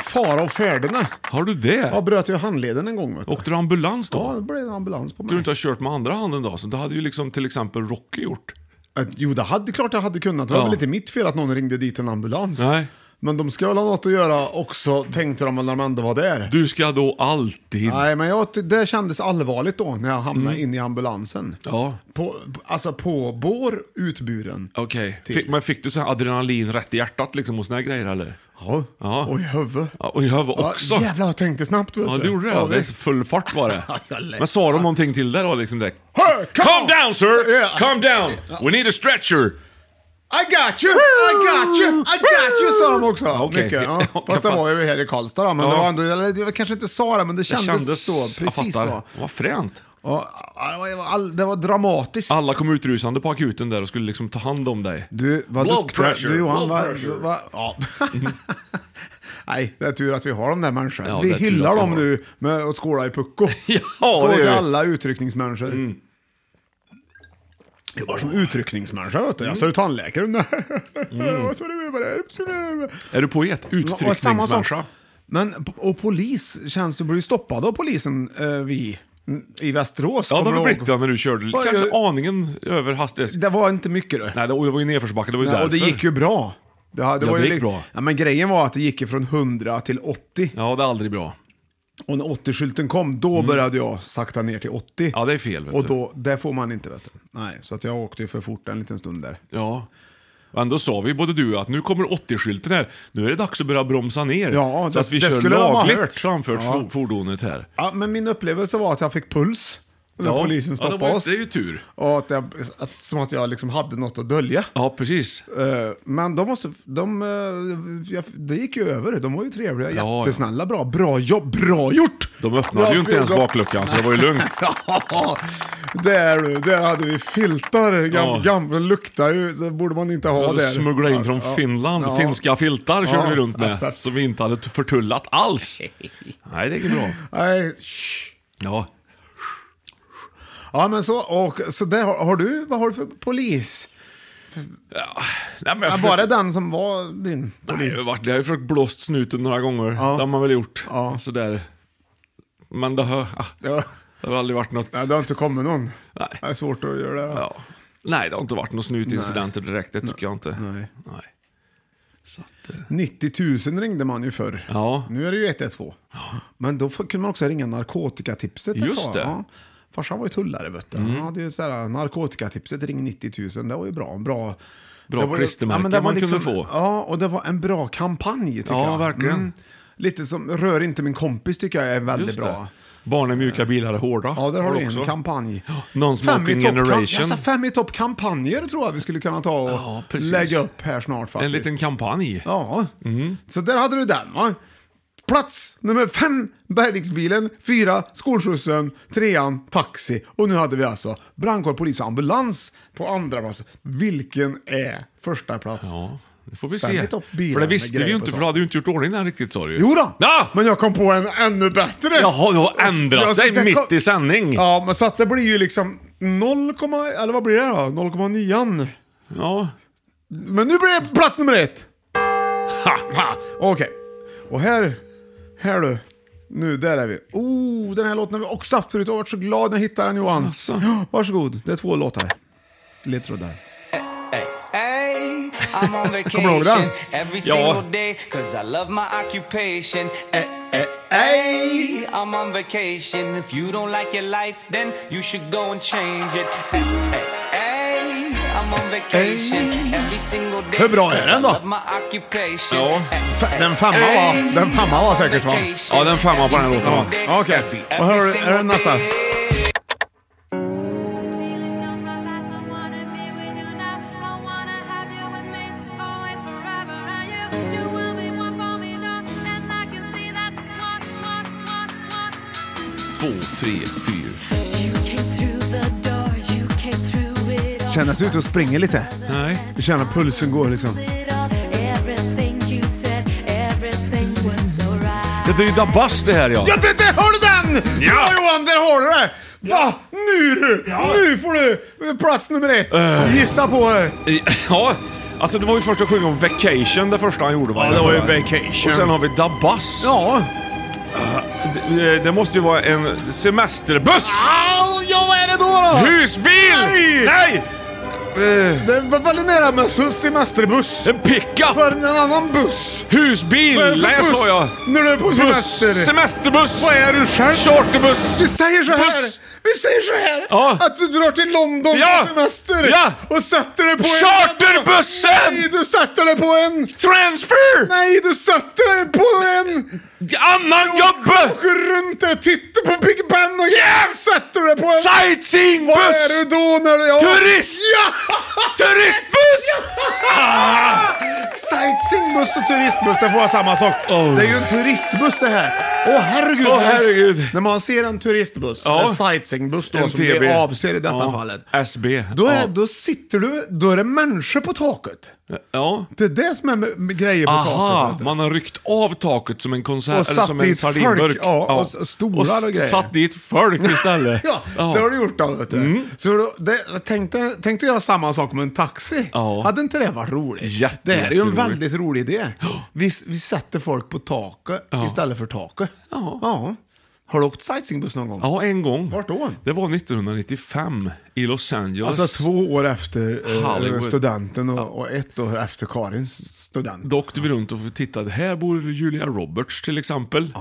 Speaker 3: Fara och färderna.
Speaker 1: Har du det?
Speaker 3: Jag bröt ju handleden en gång vet du.
Speaker 1: Åkte du ambulans då?
Speaker 3: Ja, det blev en ambulans på
Speaker 1: Du
Speaker 3: mig.
Speaker 1: inte har kört med andra handen då? Så det hade ju liksom till exempel Rocky gjort.
Speaker 3: Att- Äh, Jo, det hade klart jag hade kunnat. Det var
Speaker 1: Ja.
Speaker 3: väl inte mitt fel att någon ringde dit en ambulans.
Speaker 1: Nej.
Speaker 3: Men de ska väl ha något att göra också, tänkte de väl när de ändå var där.
Speaker 1: Du ska då alltid...
Speaker 3: Nej, men jag, ty- det kändes allvarligt då när jag hamnade in i ambulansen.
Speaker 1: Mm. Ja,
Speaker 3: På, alltså på vår utburen.
Speaker 1: okej.
Speaker 3: Till.
Speaker 1: Fick- Men fick du så här adrenalin rätt i hjärtat liksom och såna här grejer eller?
Speaker 3: Ja.
Speaker 1: Ja.
Speaker 3: Och i huvudet.
Speaker 1: Ja, och jag var också.
Speaker 3: Ja, jävlar, jag tänkte snabbt vet
Speaker 1: Ja, du gjorde det.
Speaker 3: Ja,
Speaker 1: det är
Speaker 3: visst.
Speaker 1: full fart var det.
Speaker 3: Jag lät.
Speaker 1: Men sa de någonting till dig då liksom direkt?
Speaker 3: Hey, come
Speaker 1: Calm
Speaker 3: on!
Speaker 1: down sir!
Speaker 3: Ja.
Speaker 1: Calm down! We need a stretcher!
Speaker 3: I got you! I got you! I got you! Sa de också.
Speaker 1: Okej.
Speaker 3: Mycket,
Speaker 1: Ja,
Speaker 3: ja. Fast det var ju här i Karlstad då, men
Speaker 1: Ja.
Speaker 3: det var ändå, eller jag kanske inte sa det, men det
Speaker 1: Det
Speaker 3: kändes, så. Precis
Speaker 1: jag
Speaker 3: så.
Speaker 1: fattar. Vad fränt.
Speaker 3: Ja, det var- det var all- det var dramatiskt.
Speaker 1: Alla kom utrusande på akuten där och skulle liksom ta hand om dig.
Speaker 3: Du, vad
Speaker 1: Blood
Speaker 3: duktig.
Speaker 1: pressure,
Speaker 3: Du Johan,
Speaker 1: blood
Speaker 3: vad...
Speaker 1: pressure.
Speaker 3: Va, ja. Nej, det är tur att vi har de där människorna.
Speaker 1: Ja,
Speaker 3: vi
Speaker 1: det är tur
Speaker 3: hyllar
Speaker 1: att vi
Speaker 3: dem
Speaker 1: har
Speaker 3: nu med att skåla i pucko.
Speaker 1: Ja,
Speaker 3: Skål
Speaker 1: det
Speaker 3: till
Speaker 1: gör vi. Mm.
Speaker 3: alla utryckningsmänniskor. Jag var som utryckningsmänniska vet du. Jag
Speaker 1: Mm.
Speaker 3: sa ju tandläkare. Nej. Vad sa du? Vad är det?
Speaker 1: Är du poet?
Speaker 3: Och samma sak-
Speaker 1: Uttryckningsmänniska?
Speaker 3: Men, och polis känns, du blir ju stoppad av polisen eh, vi i Västerås.
Speaker 1: Ja, det
Speaker 3: kommer
Speaker 1: var
Speaker 3: du ihåg?
Speaker 1: blivit jag när du körde.
Speaker 3: Vad
Speaker 1: Kanske
Speaker 3: gör-
Speaker 1: aningen över hastighets...
Speaker 3: Det var inte mycket du.
Speaker 1: Nej, det det var ju nedförsbacke. Det var ju
Speaker 3: Nej,
Speaker 1: därför.
Speaker 3: och det gick ju bra. Det, det
Speaker 1: Ja,
Speaker 3: var
Speaker 1: det
Speaker 3: ju
Speaker 1: gick
Speaker 3: li-
Speaker 1: bra.
Speaker 3: Ja, men grejen var att det gick ju från 100 till 80.
Speaker 1: Ja, det är aldrig bra.
Speaker 3: Och när 80-skylten kom, då började jag sakta ner till 80.
Speaker 1: Mm. Ja, det är fel. Vet
Speaker 3: och
Speaker 1: du.
Speaker 3: då, det får man inte vet du. Nej, så att jag åkte ju för fort en liten stund där.
Speaker 1: Ja. Och Ändå sa vi både du och jag att nu kommer 80-skylten här. Nu är det dags att börja bromsa ner.
Speaker 3: Ja,
Speaker 1: så
Speaker 3: det-
Speaker 1: att vi
Speaker 3: det
Speaker 1: kör
Speaker 3: skulle de ha
Speaker 1: lagligt
Speaker 3: hört.
Speaker 1: framför
Speaker 3: Ja.
Speaker 1: fo- fordonet här.
Speaker 3: Ja, men min upplevelse var att jag fick puls när
Speaker 1: Ja. Ja,
Speaker 3: polisen
Speaker 1: det
Speaker 3: stoppade
Speaker 1: var-
Speaker 3: oss.
Speaker 1: det är ju tur.
Speaker 3: Och att jag, att, som att jag liksom hade något att dölja.
Speaker 1: Ja, precis.
Speaker 3: Eh, Men de måste, de, eh, jag- det gick ju över. De var ju trevliga,
Speaker 1: Ja,
Speaker 3: jättesnälla, bra, bra jobb, bra gjort!
Speaker 1: De öppnade
Speaker 3: Bra
Speaker 1: ju inte ens
Speaker 3: jobb.
Speaker 1: bakluckan, så det var ju lugnt.
Speaker 3: Ja, där, du, där hade vi filtar. Gam,
Speaker 1: Ja.
Speaker 3: gam, det luktar ju, så borde man inte ha
Speaker 1: Ja,
Speaker 3: där.
Speaker 1: Smuggla in från
Speaker 3: Ja,
Speaker 1: Finland.
Speaker 3: ja.
Speaker 1: Finska filtar körde
Speaker 3: Ja.
Speaker 1: vi runt med.
Speaker 3: Ja, fast-
Speaker 1: Som vi inte hade förtullat alls. Nej, det är inte bra.
Speaker 3: Nej, shh.
Speaker 1: Ja.
Speaker 3: ja, men så, och, så där har, har du, vad har du för polis?
Speaker 1: Nej, men jag
Speaker 3: Ja,
Speaker 1: försöker-
Speaker 3: Bara den som var din
Speaker 1: Nej,
Speaker 3: polis?
Speaker 1: jag har varit- jag har ju försökt blåst snuten några gånger. Det har man väl gjort.
Speaker 3: Ja.
Speaker 1: Sådär. Men det har, ah,
Speaker 3: Ja.
Speaker 1: det har aldrig varit något...
Speaker 3: Ja, det har inte kommit någon.
Speaker 1: Nej.
Speaker 3: Det är svårt att göra det.
Speaker 1: Ja. Nej, det har inte varit några snutincidenter direkt. Det tycker jag inte.
Speaker 3: Nej.
Speaker 1: Nej. Så att, eh,
Speaker 3: 90 000 ringde man ju förr.
Speaker 1: ja.
Speaker 3: Nu är det ju 112. Men då f- kunde man också ringa narkotikatipset. ett
Speaker 1: Just
Speaker 3: tag.
Speaker 1: det. Mm.
Speaker 3: Ja. Farsan var ju tullare vet du. Han hade ju sådär, narkotikatipset ring 90 000, det var ju bra. En bra
Speaker 1: Bra
Speaker 3: det var ju-
Speaker 1: klistermärke
Speaker 3: det
Speaker 1: man
Speaker 3: var liksom-
Speaker 1: kunde få.
Speaker 3: Ja, och det var en bra kampanj tycker
Speaker 1: Ja,
Speaker 3: jag. Mm.
Speaker 1: verkligen.
Speaker 3: Lite som Rör inte min kompis tycker jag är väldigt
Speaker 1: Just
Speaker 3: bra.
Speaker 1: det. Barn är mjuka, bilar är hårda.
Speaker 3: Ja, där har
Speaker 1: Var
Speaker 3: du
Speaker 1: det
Speaker 3: en
Speaker 1: också.
Speaker 3: kampanj. Fem i
Speaker 1: Non-smoking
Speaker 3: topp-
Speaker 1: generation.
Speaker 3: Alltså, fem i topp-kampanjer tror jag vi skulle kunna ta och
Speaker 1: Ja, precis.
Speaker 3: lägga upp här snart faktiskt.
Speaker 1: En liten kampanj.
Speaker 3: Ja,
Speaker 1: Mhm.
Speaker 3: så där hade du den va. Plats nummer fem, bärgningsbilen, fyra, skolskjutsen, trean, taxi. Och nu hade vi alltså brandkår, polis och ambulans på andra plats. Vilken är första plats?
Speaker 1: Ja, det får vi
Speaker 3: Fem
Speaker 1: se.
Speaker 3: i topp, bilar
Speaker 1: För det
Speaker 3: med
Speaker 1: visste vi
Speaker 3: grejer
Speaker 1: ju
Speaker 3: på
Speaker 1: inte, för
Speaker 3: topp.
Speaker 1: du hade ju inte gjort ordning den riktigt sa du ju.
Speaker 3: Jo då,
Speaker 1: Ja!
Speaker 3: men jag kom på en ännu bättre.
Speaker 1: Jaha, du har ändrat
Speaker 3: Jag-
Speaker 1: dig
Speaker 3: jag-
Speaker 1: mitt i sändning. Ja.
Speaker 3: Ja, men så att det blir ju liksom 0, eller vad blir det då? 0,9. Men nu blir det plats nummer ett.
Speaker 1: Ha,
Speaker 3: Ha, Okej. Och här, här du. Nu, där är vi. Oh, den här låten har vi också haft förut. Jag har varit så glad när jag hittade den Johan.
Speaker 1: Asså.
Speaker 3: Ja, Varsågod, det är två låtar. Ledtrådar.
Speaker 7: Hey, I'm on
Speaker 3: Kommer du ihåg den?
Speaker 7: vacation every
Speaker 1: Ja.
Speaker 7: single day cause I love my occupation. Eh, Hey, I'm on vacation. If you don't like your life, then you should go and change it. Eh, Hey, I'm on vacation every single day.
Speaker 3: Hur bra är
Speaker 7: cause
Speaker 3: den
Speaker 7: I
Speaker 3: då?
Speaker 7: love my occupation. Eh,
Speaker 1: Ja.
Speaker 3: F- den femma var- den femma var säkert, va?
Speaker 7: Vacation
Speaker 1: Ja, den femma på den
Speaker 7: every
Speaker 1: låten, va?
Speaker 7: single day.
Speaker 3: Ja, Okej, och här har du- här är nästa.
Speaker 1: två, tre, fyra.
Speaker 3: Känner att du är ute och springer lite.
Speaker 1: Nej.
Speaker 3: Du känner att pulsen går liksom.
Speaker 1: Det är ju Dabas det här ja.
Speaker 3: Ja, det, där har du den!
Speaker 1: Ja!
Speaker 3: Bra Johan, där har du det! Va? Nu du! Nu får du plats nummer ett. Gissa på här.
Speaker 1: I- Ja, alltså det var ju först jag sjöng om Vacation, det första han gjorde va?
Speaker 3: vacation.
Speaker 1: Och sen har vi Dabas.
Speaker 3: Ja.
Speaker 1: Det, det måste ju vara en semesterbuss!
Speaker 3: Au, ja, vad är det då då?
Speaker 1: Husbil!
Speaker 3: Nej!
Speaker 1: Nej! Eh,
Speaker 3: Det var väldigt nära med så- semesterbuss.
Speaker 1: En pickup!
Speaker 3: För en annan buss.
Speaker 1: Husbil!
Speaker 3: Vad är det för
Speaker 1: Nej,
Speaker 3: buss?
Speaker 1: sa jag.
Speaker 3: När du är på semester.
Speaker 1: Buss! Semesterbuss!
Speaker 3: Vad är du själv?
Speaker 1: Charterbuss!
Speaker 3: Vi säger så här.
Speaker 1: Buss!
Speaker 3: Vi säger så här.
Speaker 1: Ja.
Speaker 3: Att du drar till London
Speaker 1: Ja.
Speaker 3: på semester.
Speaker 1: Ja.
Speaker 3: Och sätter dig på en-
Speaker 1: Charterbussen!
Speaker 3: Nej, du sätter dig på en...
Speaker 1: Transfer!
Speaker 3: Nej, du sätter dig på en...
Speaker 1: Annan gubbe!
Speaker 3: Åker runt där och tittar på Big Ben och yeah! sätter dig på en... Vad är du
Speaker 1: Sightseeingbuss!
Speaker 3: då när du... Ja.
Speaker 1: Turist!
Speaker 3: Ja!
Speaker 1: Turistbuss! Ah.
Speaker 3: Sightseeingbuss och turistbuss, det får vara samma sak.
Speaker 1: Oh.
Speaker 3: Det är ju en turistbuss det här. Åh herregud!
Speaker 1: Åh, herregud.
Speaker 3: När man ser en turistbuss,
Speaker 1: Ja.
Speaker 3: en sightseeingbuss då,
Speaker 1: En
Speaker 3: som vi
Speaker 1: TB.
Speaker 3: avser i detta
Speaker 1: Ja,
Speaker 3: fallet.
Speaker 1: SB.
Speaker 3: Då, är,
Speaker 1: Ja.
Speaker 3: då sitter du, då är det människor på taket.
Speaker 1: Ja.
Speaker 3: Det är det som är med, med grejer på
Speaker 1: Aha,
Speaker 3: taket. vet
Speaker 1: man har ryckt av taket som en konsert,
Speaker 3: Och
Speaker 1: eller
Speaker 3: satt
Speaker 1: som en
Speaker 3: dit
Speaker 1: sardinburk.
Speaker 3: folk, ja, och s- stolar och
Speaker 1: s-
Speaker 3: grejer.
Speaker 1: satt dit folk istället.
Speaker 3: du. Ja, det har du gjort då vet du.
Speaker 1: Mm.
Speaker 3: Så då, det, tänkte, tänkte göra samma sak med en taxi.
Speaker 1: Ja.
Speaker 3: Hade inte det varit roligt?
Speaker 1: Jätte-
Speaker 3: det är ju en
Speaker 1: jätteroligt.
Speaker 3: väldigt rolig idé. Vi, vi sätter folk på taket istället för taket.
Speaker 1: Ja.
Speaker 3: Har du åkt sightseeingbuss någon gång?
Speaker 1: Ja, en gång.
Speaker 3: Vart då?
Speaker 1: Det var 1995 i Los Angeles.
Speaker 3: Alltså två år efter eh,
Speaker 1: Hollywood.
Speaker 3: studenten och, och ett år efter Karins student.
Speaker 1: Då åkte vi runt och tittade. Här bor Julia Roberts till exempel.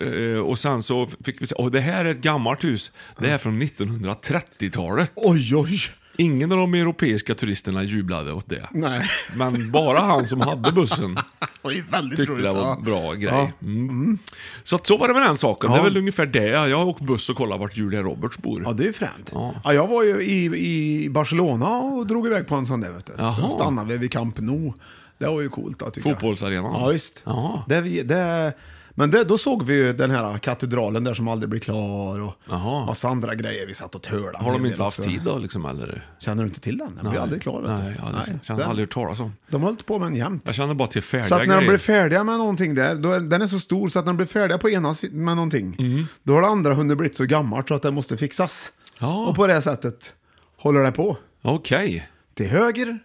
Speaker 1: Eh, Och sen så fick vi se, och det här är ett gammalt hus. Det är från 1930-talet.
Speaker 3: Oj, oj.
Speaker 1: Ingen av de europeiska turisterna jublade åt det.
Speaker 3: Nej.
Speaker 1: Men bara han som hade bussen
Speaker 3: Oj, väldigt
Speaker 1: tyckte det
Speaker 3: roligt.
Speaker 1: var
Speaker 3: ja.
Speaker 1: en bra grej.
Speaker 3: Ja.
Speaker 1: Mm. Så att så var det med den saken. Det är väl ungefär det. Jag har åkt buss och kollat vart Julia Roberts bor.
Speaker 3: Ja, det är fränt. Ja. jag var ju i, i Barcelona och drog iväg på en sån där. Vet du.
Speaker 1: Jaha.
Speaker 3: Sen stannade vi vid Camp Nou. Det var ju coolt. Då, tycker jag.
Speaker 1: Fotbollsarenan.
Speaker 3: Ja, visst.
Speaker 1: Jaha.
Speaker 3: Det, vi- det, men det, då såg vi ju den här katedralen där som aldrig blir klar och
Speaker 1: Jaha.
Speaker 3: massa andra grejer vi satt och törlade.
Speaker 1: Har
Speaker 3: en
Speaker 1: de
Speaker 3: del
Speaker 1: inte haft
Speaker 3: också.
Speaker 1: tid då liksom eller?
Speaker 3: Känner du inte till den? Den blir aldrig klar. Vet
Speaker 1: Nej,
Speaker 3: du.
Speaker 1: jag hade, jag
Speaker 3: den-
Speaker 1: hade aldrig hört talas om.
Speaker 3: De höll på med den jämt.
Speaker 1: Jag känner bara till färdiga
Speaker 3: Så att när de
Speaker 1: grejer.
Speaker 3: blir färdiga med någonting där, då är, den är så stor så att när de blir färdiga på ena si- med någonting,
Speaker 1: Mm.
Speaker 3: då har det andra hunnit blivit så gammalt så att det måste fixas.
Speaker 1: Ja.
Speaker 3: Och på det sättet håller det på.
Speaker 1: Okej.
Speaker 3: Till höger,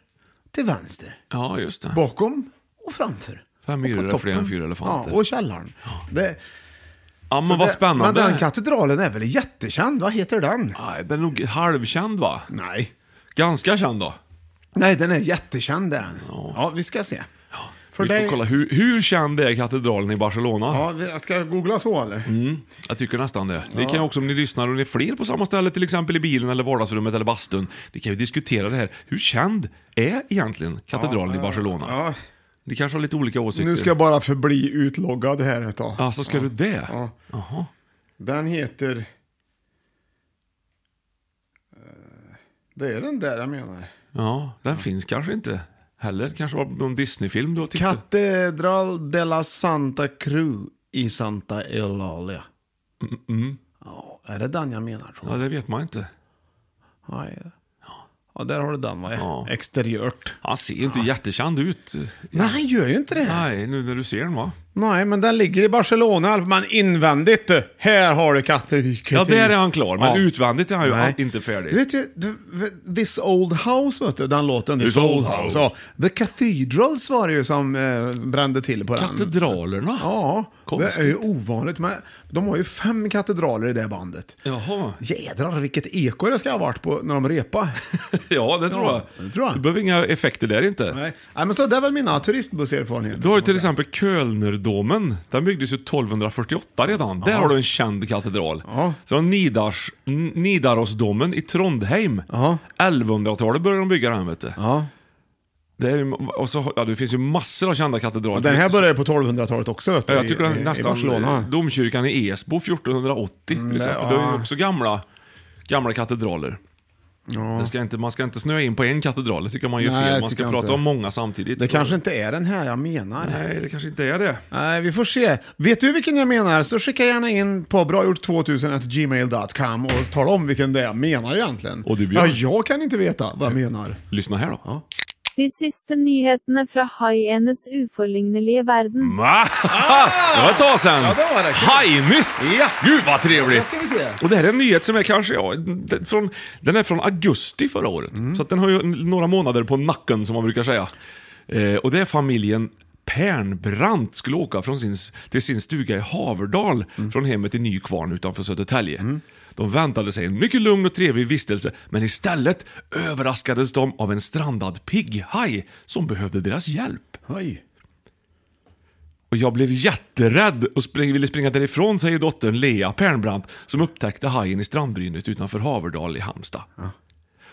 Speaker 3: till vänster,
Speaker 1: Ja, just det.
Speaker 3: bakom och framför.
Speaker 1: Fem
Speaker 3: Och på
Speaker 1: myror är fler
Speaker 3: toppen.
Speaker 1: än fyra elefanter.
Speaker 3: Ja, och källaren. Det,
Speaker 1: Ja,
Speaker 3: så
Speaker 1: men vad
Speaker 3: det-
Speaker 1: spännande.
Speaker 3: Men den katedralen är väl jättekänd? Vad heter den?
Speaker 1: Nej, den är nog halvkänd va?
Speaker 3: Nej.
Speaker 1: Ganska känd då.
Speaker 3: Nej, den är jättekänd är den. Ja, vi ska se. För
Speaker 1: vi
Speaker 3: dig-
Speaker 1: får kolla, hur, hur känd är katedralen i Barcelona?
Speaker 3: Ja, vi- jag ska googla så eller?
Speaker 1: Mm. Jag tycker nästan det. Ni kan ju också om ni lyssnar och ni är fler på samma ställe, till exempel i bilen eller vardagsrummet eller bastun. Ni kan ju diskutera det här. Hur känd är egentligen katedralen i Barcelona?
Speaker 3: Ja.
Speaker 1: Ni kanske har lite olika åsikter.
Speaker 3: Nu ska jag bara förbli utloggad här ett tag.
Speaker 1: Alltså, ska du det?
Speaker 3: Ja.
Speaker 1: Jaha.
Speaker 3: Den heter... Eh, Det är den där jag menar.
Speaker 1: Ja, den finns kanske inte heller. Kanske var någon Disney-film du har tittat
Speaker 3: Catedral de la Santa Cruz i Santa Eulalia. Ja, är det den jag menar? Tror
Speaker 1: Ja, det vet man inte.
Speaker 3: jag. Nej. Ja, där har du den va?
Speaker 1: Ja.
Speaker 3: Exteriört.
Speaker 1: Han ser ju inte jättekänd ut.
Speaker 3: Nej, han gör ju inte det.
Speaker 1: Nej, nu när du ser den va?
Speaker 3: Nej, men den ligger i Barcelona, men invändigt du. Här har du katten.
Speaker 1: Ja, där är han klar. Men
Speaker 3: Ja.
Speaker 1: utvändigt är han ju
Speaker 3: Nej.
Speaker 1: inte färdig.
Speaker 3: Du vet ju, du, This Old House vet du, den låten.
Speaker 1: This Old House.
Speaker 3: Ja, The Cathedrals var det ju som eh, brände till på den.
Speaker 1: Katedralerna?
Speaker 3: Ja, det är ju
Speaker 1: Konstigt.
Speaker 3: ovanligt. Men de har ju fem katedraler i det bandet.
Speaker 1: Jaha.
Speaker 3: Jädrar vilket eko det ska ha varit på när de repade.
Speaker 1: Ja, det tror,
Speaker 3: Ja,
Speaker 1: jag.
Speaker 3: det tror jag.
Speaker 1: Du behöver inga effekter där inte.
Speaker 3: Nej. Nej, men så det är väl mina turistbusserfarenheter.
Speaker 1: Du har ju till exempel Kölnerdomen. Den byggdes ju 1248 redan. Där har du en känd katedral.
Speaker 3: Ja.
Speaker 1: Så har Nidars, N- Nidarosdomen i Trondheim.
Speaker 3: Ja.
Speaker 1: 1100-talet började de bygga den vet du.
Speaker 3: Ja.
Speaker 1: Det, är, ju- och så, har- ja, det finns ju massor av kända katedraler.
Speaker 3: Och Den här började på 1200-talet också vet du.
Speaker 1: Ja, jag tycker
Speaker 3: i-
Speaker 1: den
Speaker 3: i- i Barcelona. Mm,
Speaker 1: nästan... Domkyrkan i Esbo 1480 till exempel. Det är ju
Speaker 3: ja.
Speaker 1: också gamla, gamla katedraler. Det ska inte, man ska inte snöa in på en katedral, det tycker jag man gör
Speaker 3: Nej,
Speaker 1: fel.
Speaker 3: det
Speaker 1: Man
Speaker 3: tycker
Speaker 1: ska
Speaker 3: jag
Speaker 1: prata
Speaker 3: inte.
Speaker 1: om många samtidigt.
Speaker 3: Det kanske inte är den här jag menar.
Speaker 1: Nej, det kanske inte är det.
Speaker 3: Nej, vi får se. Vet du vilken jag menar så skicka gärna in på bragjort2000gmail.com och tala om vilken det är jag menar egentligen.
Speaker 1: Och du,
Speaker 3: ja,
Speaker 1: Björn?
Speaker 3: jag kan inte veta vad jag menar.
Speaker 1: Lyssna här då.
Speaker 8: De siste nyhetene fra haienes uforlignelige verden.
Speaker 1: Ma! Ah, Det var ett tag sedan.
Speaker 3: Ja, det var det.
Speaker 1: Hajnytt!
Speaker 3: Ja.
Speaker 1: Gud vad trevligt!
Speaker 3: ska vi se.
Speaker 1: Och det här är en nyhet som är kanske, ja, den- från, den är från augusti förra året.
Speaker 3: Mm.
Speaker 1: Så att den har ju några månader på nacken som man brukar säga. Eh, och det är familjen Pernbrant skulle åka från sin, till sin stuga i Haverdal
Speaker 3: Mm.
Speaker 1: från hemmet i Nykvarn utanför Södertälje. De väntade sig en mycket lugn och trevlig vistelse, men istället överraskades de av en strandad pigghaj som behövde deras hjälp.
Speaker 3: Oj.
Speaker 1: Och jag blev jätterädd och spring, ville springa därifrån, säger dottern Lea Pernbrandt som upptäckte hajen i strandbrynet utanför Haverdal i Halmstad.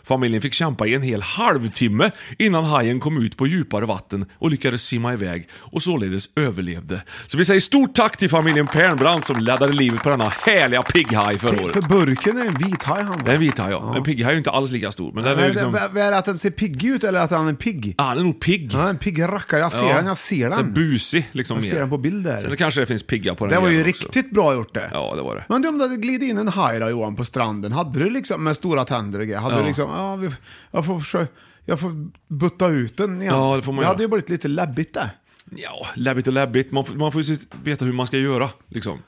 Speaker 1: Familjen fick kämpa i en hel halvtimme innan hajen kom ut på djupare vatten och lyckades simma iväg och således överlevde. Så vi säger stort tack till familjen Pernbrandt som räddade livet på denna härliga pigghaj förra året.
Speaker 3: För burken är en vit haj han
Speaker 1: Det är
Speaker 3: var.
Speaker 1: en vit haj, ja. En pigghaj är ju inte alls lika stor. Men den är
Speaker 3: Nej,
Speaker 1: ju
Speaker 3: det-
Speaker 1: liksom...
Speaker 3: vad- vad Är det att den ser pigg ut eller att han är pigg?
Speaker 1: Ah, den är nog pigg.
Speaker 3: Han är en pigg rackare. Jag ser
Speaker 1: Ja.
Speaker 3: den, jag ser
Speaker 1: Så här
Speaker 3: den.
Speaker 1: busig liksom
Speaker 3: jag ser
Speaker 1: mer.
Speaker 3: den på bild
Speaker 1: Sen
Speaker 3: där.
Speaker 1: kanske det finns pigga på den
Speaker 3: Det var ju
Speaker 1: jäveln också.
Speaker 3: riktigt bra gjort det.
Speaker 1: Ja, det var det.
Speaker 3: Men du, om du hade glidit in en haj då Johan på stranden, hade du liksom med stora tänder och grejer, hade
Speaker 1: Ja.
Speaker 3: du liksom, ja, vi, jag får försöka, jag får butta ut den igen.
Speaker 1: Ja, det får man göra.
Speaker 3: hade ju blivit lite läbbigt det.
Speaker 1: Ja, läbbigt och läbbigt. Man, får- man får ju se- veta hur man ska göra. Liksom.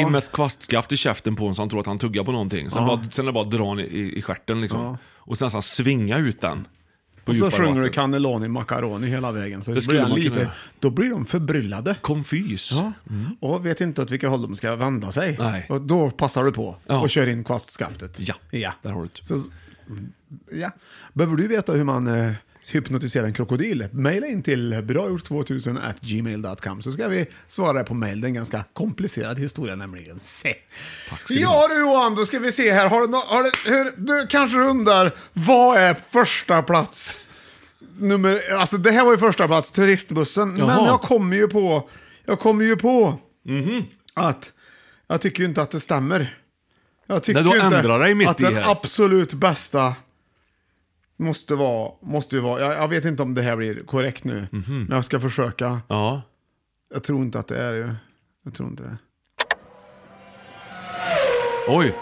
Speaker 1: In med ett kvastskaft i käften på honom så han tror att han tuggar på någonting. Sen, bara, sen är det bara att dra den i, i stjärten liksom. Och sen nästan svinga ut den. På
Speaker 3: Och så
Speaker 1: djupare
Speaker 3: sjunger du
Speaker 1: vatten.
Speaker 3: cannelloni macaroni hela vägen. Så det
Speaker 1: skulle
Speaker 3: blir den
Speaker 1: man kunna
Speaker 3: lite,
Speaker 1: göra.
Speaker 3: då blir de förbryllade.
Speaker 1: Konfys.
Speaker 3: Ja. Och vet inte åt vilka håll de ska vända sig.
Speaker 1: Mm. Nej.
Speaker 3: Och då passar du på
Speaker 1: Ja.
Speaker 3: och kör in kvastskaftet.
Speaker 1: Ja,
Speaker 3: ja.
Speaker 1: där har du det.
Speaker 3: Så, ja. Behöver du veta hur man eh, hypnotisera en krokodil? Maila in till bragjort2000 at gmail.com så ska vi svara på mail. Det är en ganska komplicerad historia nämligen. Se. Ja du Johan, då ska vi se här. Har du, nå- har du, hur, du kanske undrar, vad är första plats? Nummer, alltså det här var ju första plats, turistbussen. Men
Speaker 1: Jaha.
Speaker 3: jag kommer ju på, jag kommer ju på
Speaker 1: Mhm.
Speaker 3: att jag tycker ju inte att det stämmer. Jag tycker
Speaker 1: Nej,
Speaker 3: ju
Speaker 1: då
Speaker 3: inte
Speaker 1: ändrar dig mitt
Speaker 3: att
Speaker 1: i
Speaker 3: den
Speaker 1: här.
Speaker 3: absolut bästa måste vara, måste ju vara jag, jag vet inte om det här blir korrekt nu,
Speaker 1: Mhm.
Speaker 3: men jag ska försöka.
Speaker 1: Ja.
Speaker 3: Jag tror inte att det är det. Jag tror inte det.
Speaker 1: Oj.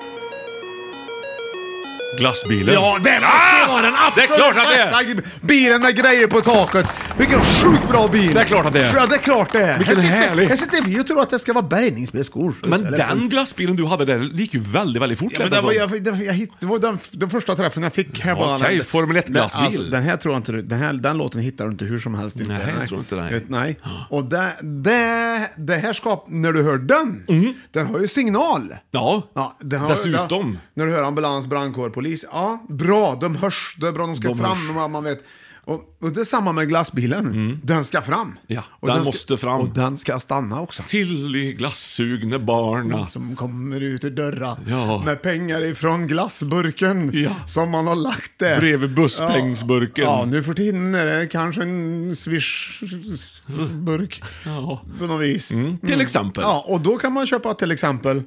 Speaker 1: Glassbilen.
Speaker 3: Ja, det måste ju vara den
Speaker 1: Ah! Det är
Speaker 3: absolut
Speaker 1: klart att det är.
Speaker 3: bästa bilen med grejer på taket. Vilken sjukt bra bil.
Speaker 1: Det är klart att det är.
Speaker 3: Ja, det är klart det är.
Speaker 1: Vilken
Speaker 3: här sitter,
Speaker 1: härlig.
Speaker 3: Här sitter vi och tror att det ska vara bärgningsbilskor.
Speaker 1: Men
Speaker 3: Eller-
Speaker 1: den alltså. glassbilen du hade där det gick ju väldigt, väldigt fort.
Speaker 3: Ja, men
Speaker 1: lät
Speaker 3: det,
Speaker 1: det
Speaker 3: var,
Speaker 1: som.
Speaker 3: jag, det, jag hitt, det var den, den första träffen jag fick här bara.
Speaker 1: Okej,
Speaker 3: Den-
Speaker 1: Formel 1-glassbil.
Speaker 3: den- alltså, den här tror jag inte du, den, här, den låten hittar du inte hur som helst. Inte.
Speaker 1: Nej, jag tror inte det.
Speaker 3: Vet, nej. Och det, det, det här skap, när du hör den,
Speaker 1: Mm.
Speaker 3: den har ju signal.
Speaker 1: Ja.
Speaker 3: Ja, den har,
Speaker 1: Dessutom.
Speaker 3: den- när du hör ambulans, brandkår, polis. Ja, bra, de hörs. Det är bra, de ska
Speaker 1: De hörs. Mm.
Speaker 3: fram. Man, man vet. Och, och det är samma med glassbilen. Den ska fram.
Speaker 1: Ja,
Speaker 3: och
Speaker 1: den
Speaker 3: ska,
Speaker 1: måste fram.
Speaker 3: Och den ska stanna också.
Speaker 1: Till i glasssugne barna.
Speaker 3: Som kommer ut ur dörra
Speaker 1: Ja.
Speaker 3: med pengar ifrån glassburken
Speaker 1: Ja.
Speaker 3: som man har lagt där.
Speaker 1: Bredvid busspengsburken.
Speaker 3: Ja, ja, nu för tiden är det kanske en swishburk
Speaker 1: Ja. Mm.
Speaker 3: på något vis.
Speaker 1: Till exempel.
Speaker 3: Mm. Ja, och då kan man köpa till exempel,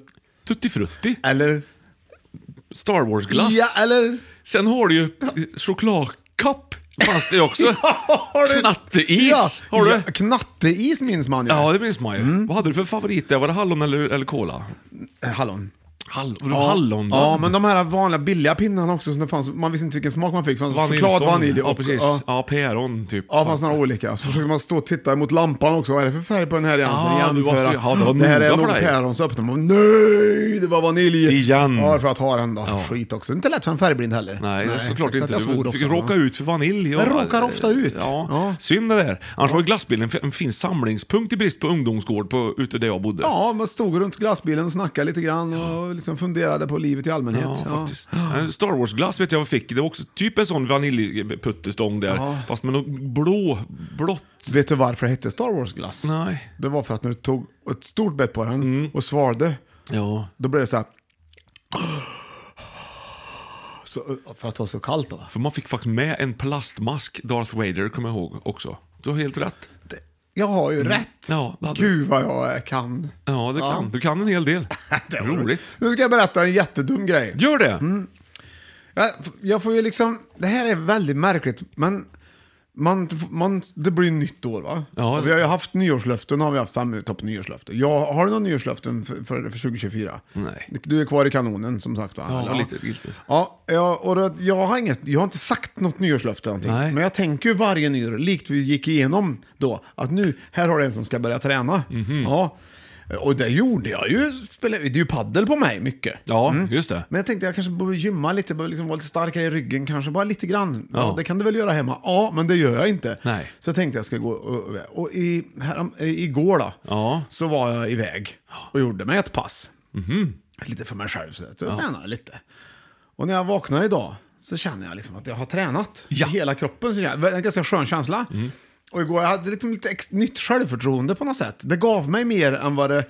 Speaker 1: Tutti Frutti.
Speaker 3: eller...
Speaker 1: Star Wars-glass.
Speaker 3: Ja, äh- eller...
Speaker 1: Sen har du ju chokladkapp. Fanns det också.
Speaker 3: Har du-
Speaker 1: Knatteis,
Speaker 3: Ja,
Speaker 1: har du?
Speaker 3: Ja, Mm. knatteis minns man ju.
Speaker 1: Ja, det minns man ju. Vad hade du för favorit där? Var det hallon eller, eller cola?
Speaker 3: Eh, Hallon.
Speaker 1: Hall ja. Hallon
Speaker 3: Ja, men de här vanliga billiga pinnarna också som det fanns, man visste inte vilken smak man fick. Det fanns choklad, vanilj
Speaker 1: Ja,
Speaker 3: och...
Speaker 1: precis. Ja, päron typ.
Speaker 3: Ja, det fanns några olika. Så försöker man stå och titta mot lampan också. Vad är det för färg på den här egentligen?
Speaker 1: Ah, du var så- ja, det var
Speaker 3: här är
Speaker 1: noga för
Speaker 3: nog
Speaker 1: dig.
Speaker 3: päron. Så öppnar man. Nej, det var vanilj.
Speaker 1: Igen.
Speaker 3: Ja, för att ha den då. Skit också. Inte lätt för en färgblind heller.
Speaker 1: Nej, såklart
Speaker 3: ursäkta att
Speaker 1: inte.
Speaker 3: jag svor
Speaker 1: Du fick
Speaker 3: också.
Speaker 1: råka ut för vanilj.
Speaker 3: Jag råkar ofta ut.
Speaker 1: Ja.
Speaker 3: Ja.
Speaker 1: Synd det där. Annars var ju glassbilen en fin samlingspunkt i brist på ungdomsgård på, ute där jag bodde.
Speaker 3: Ja, man stod runt glassbilen och snackade lite grann och liksom funderade på livet i allmänhet.
Speaker 1: Ja, faktiskt. En Star Wars-glass vet jag vad jag fick. Det var också typ en sån vaniljputtestång där. Fast med något blå, blått.
Speaker 3: Vet du varför det hette Star Wars-glass?
Speaker 1: Nej.
Speaker 3: Det var för att när du tog ett stort bett på den och svalde,
Speaker 1: Ja.
Speaker 3: då blev det så här... Så, för att det var så kallt då.
Speaker 1: För man fick faktiskt med en plastmask, Darth Vader, kommer jag ihåg också. Du har helt rätt.
Speaker 3: Jag har ju rätt.
Speaker 1: Ja, det hade du.
Speaker 3: Gud vad jag kan.
Speaker 1: Ja, det kan. Du kan en hel del.
Speaker 3: Det var
Speaker 1: Roligt. Mm.
Speaker 3: Nu ska jag berätta en jättedum grej.
Speaker 1: Gör det!
Speaker 3: Jag, jag får ju liksom, det här är väldigt märkligt, men man, man, det blir nytt år va?
Speaker 1: Ja.
Speaker 3: Och vi har ju haft nyårslöften, har vi haft fem topp nyårslöften. Jag, har du några nyårslöften för, för, för 2024?
Speaker 1: Nej.
Speaker 3: Du är kvar i kanonen som sagt va?
Speaker 1: Ja,
Speaker 3: Eller?
Speaker 1: lite, lite.
Speaker 3: Ja, ja, och då, jag, har inget, jag har inte sagt något nyårslöfte eller
Speaker 1: Nej.
Speaker 3: någonting. Men jag tänker ju varje nyår, likt vi gick igenom då, att nu, här har du en som ska börja träna.
Speaker 1: Mhm.
Speaker 3: Ja. Och det gjorde jag ju. Spelade, det är ju paddel på mig mycket.
Speaker 1: Ja, just det.
Speaker 3: Men jag tänkte jag kanske borde gymma lite, borde liksom vara lite starkare i ryggen kanske, bara lite grann. Ja.
Speaker 1: Ja.
Speaker 3: det kan du väl göra hemma? Ja, men det gör jag inte.
Speaker 1: Nej.
Speaker 3: Så jag tänkte jag ska gå och, och i, härom, eh, igår då,
Speaker 1: Ja.
Speaker 3: så var jag iväg och gjorde mig ett pass.
Speaker 1: Mhm.
Speaker 3: Lite för mig själv, så att jag tränade lite. Och när jag vaknar idag så känner jag liksom att jag har tränat.
Speaker 1: Ja. Mm.
Speaker 3: I hela kroppen. Så känner jag, en ganska skön känsla. Och igår jag hade jag liksom lite ex, nytt självförtroende på något sätt. Det gav mig mer än vad det,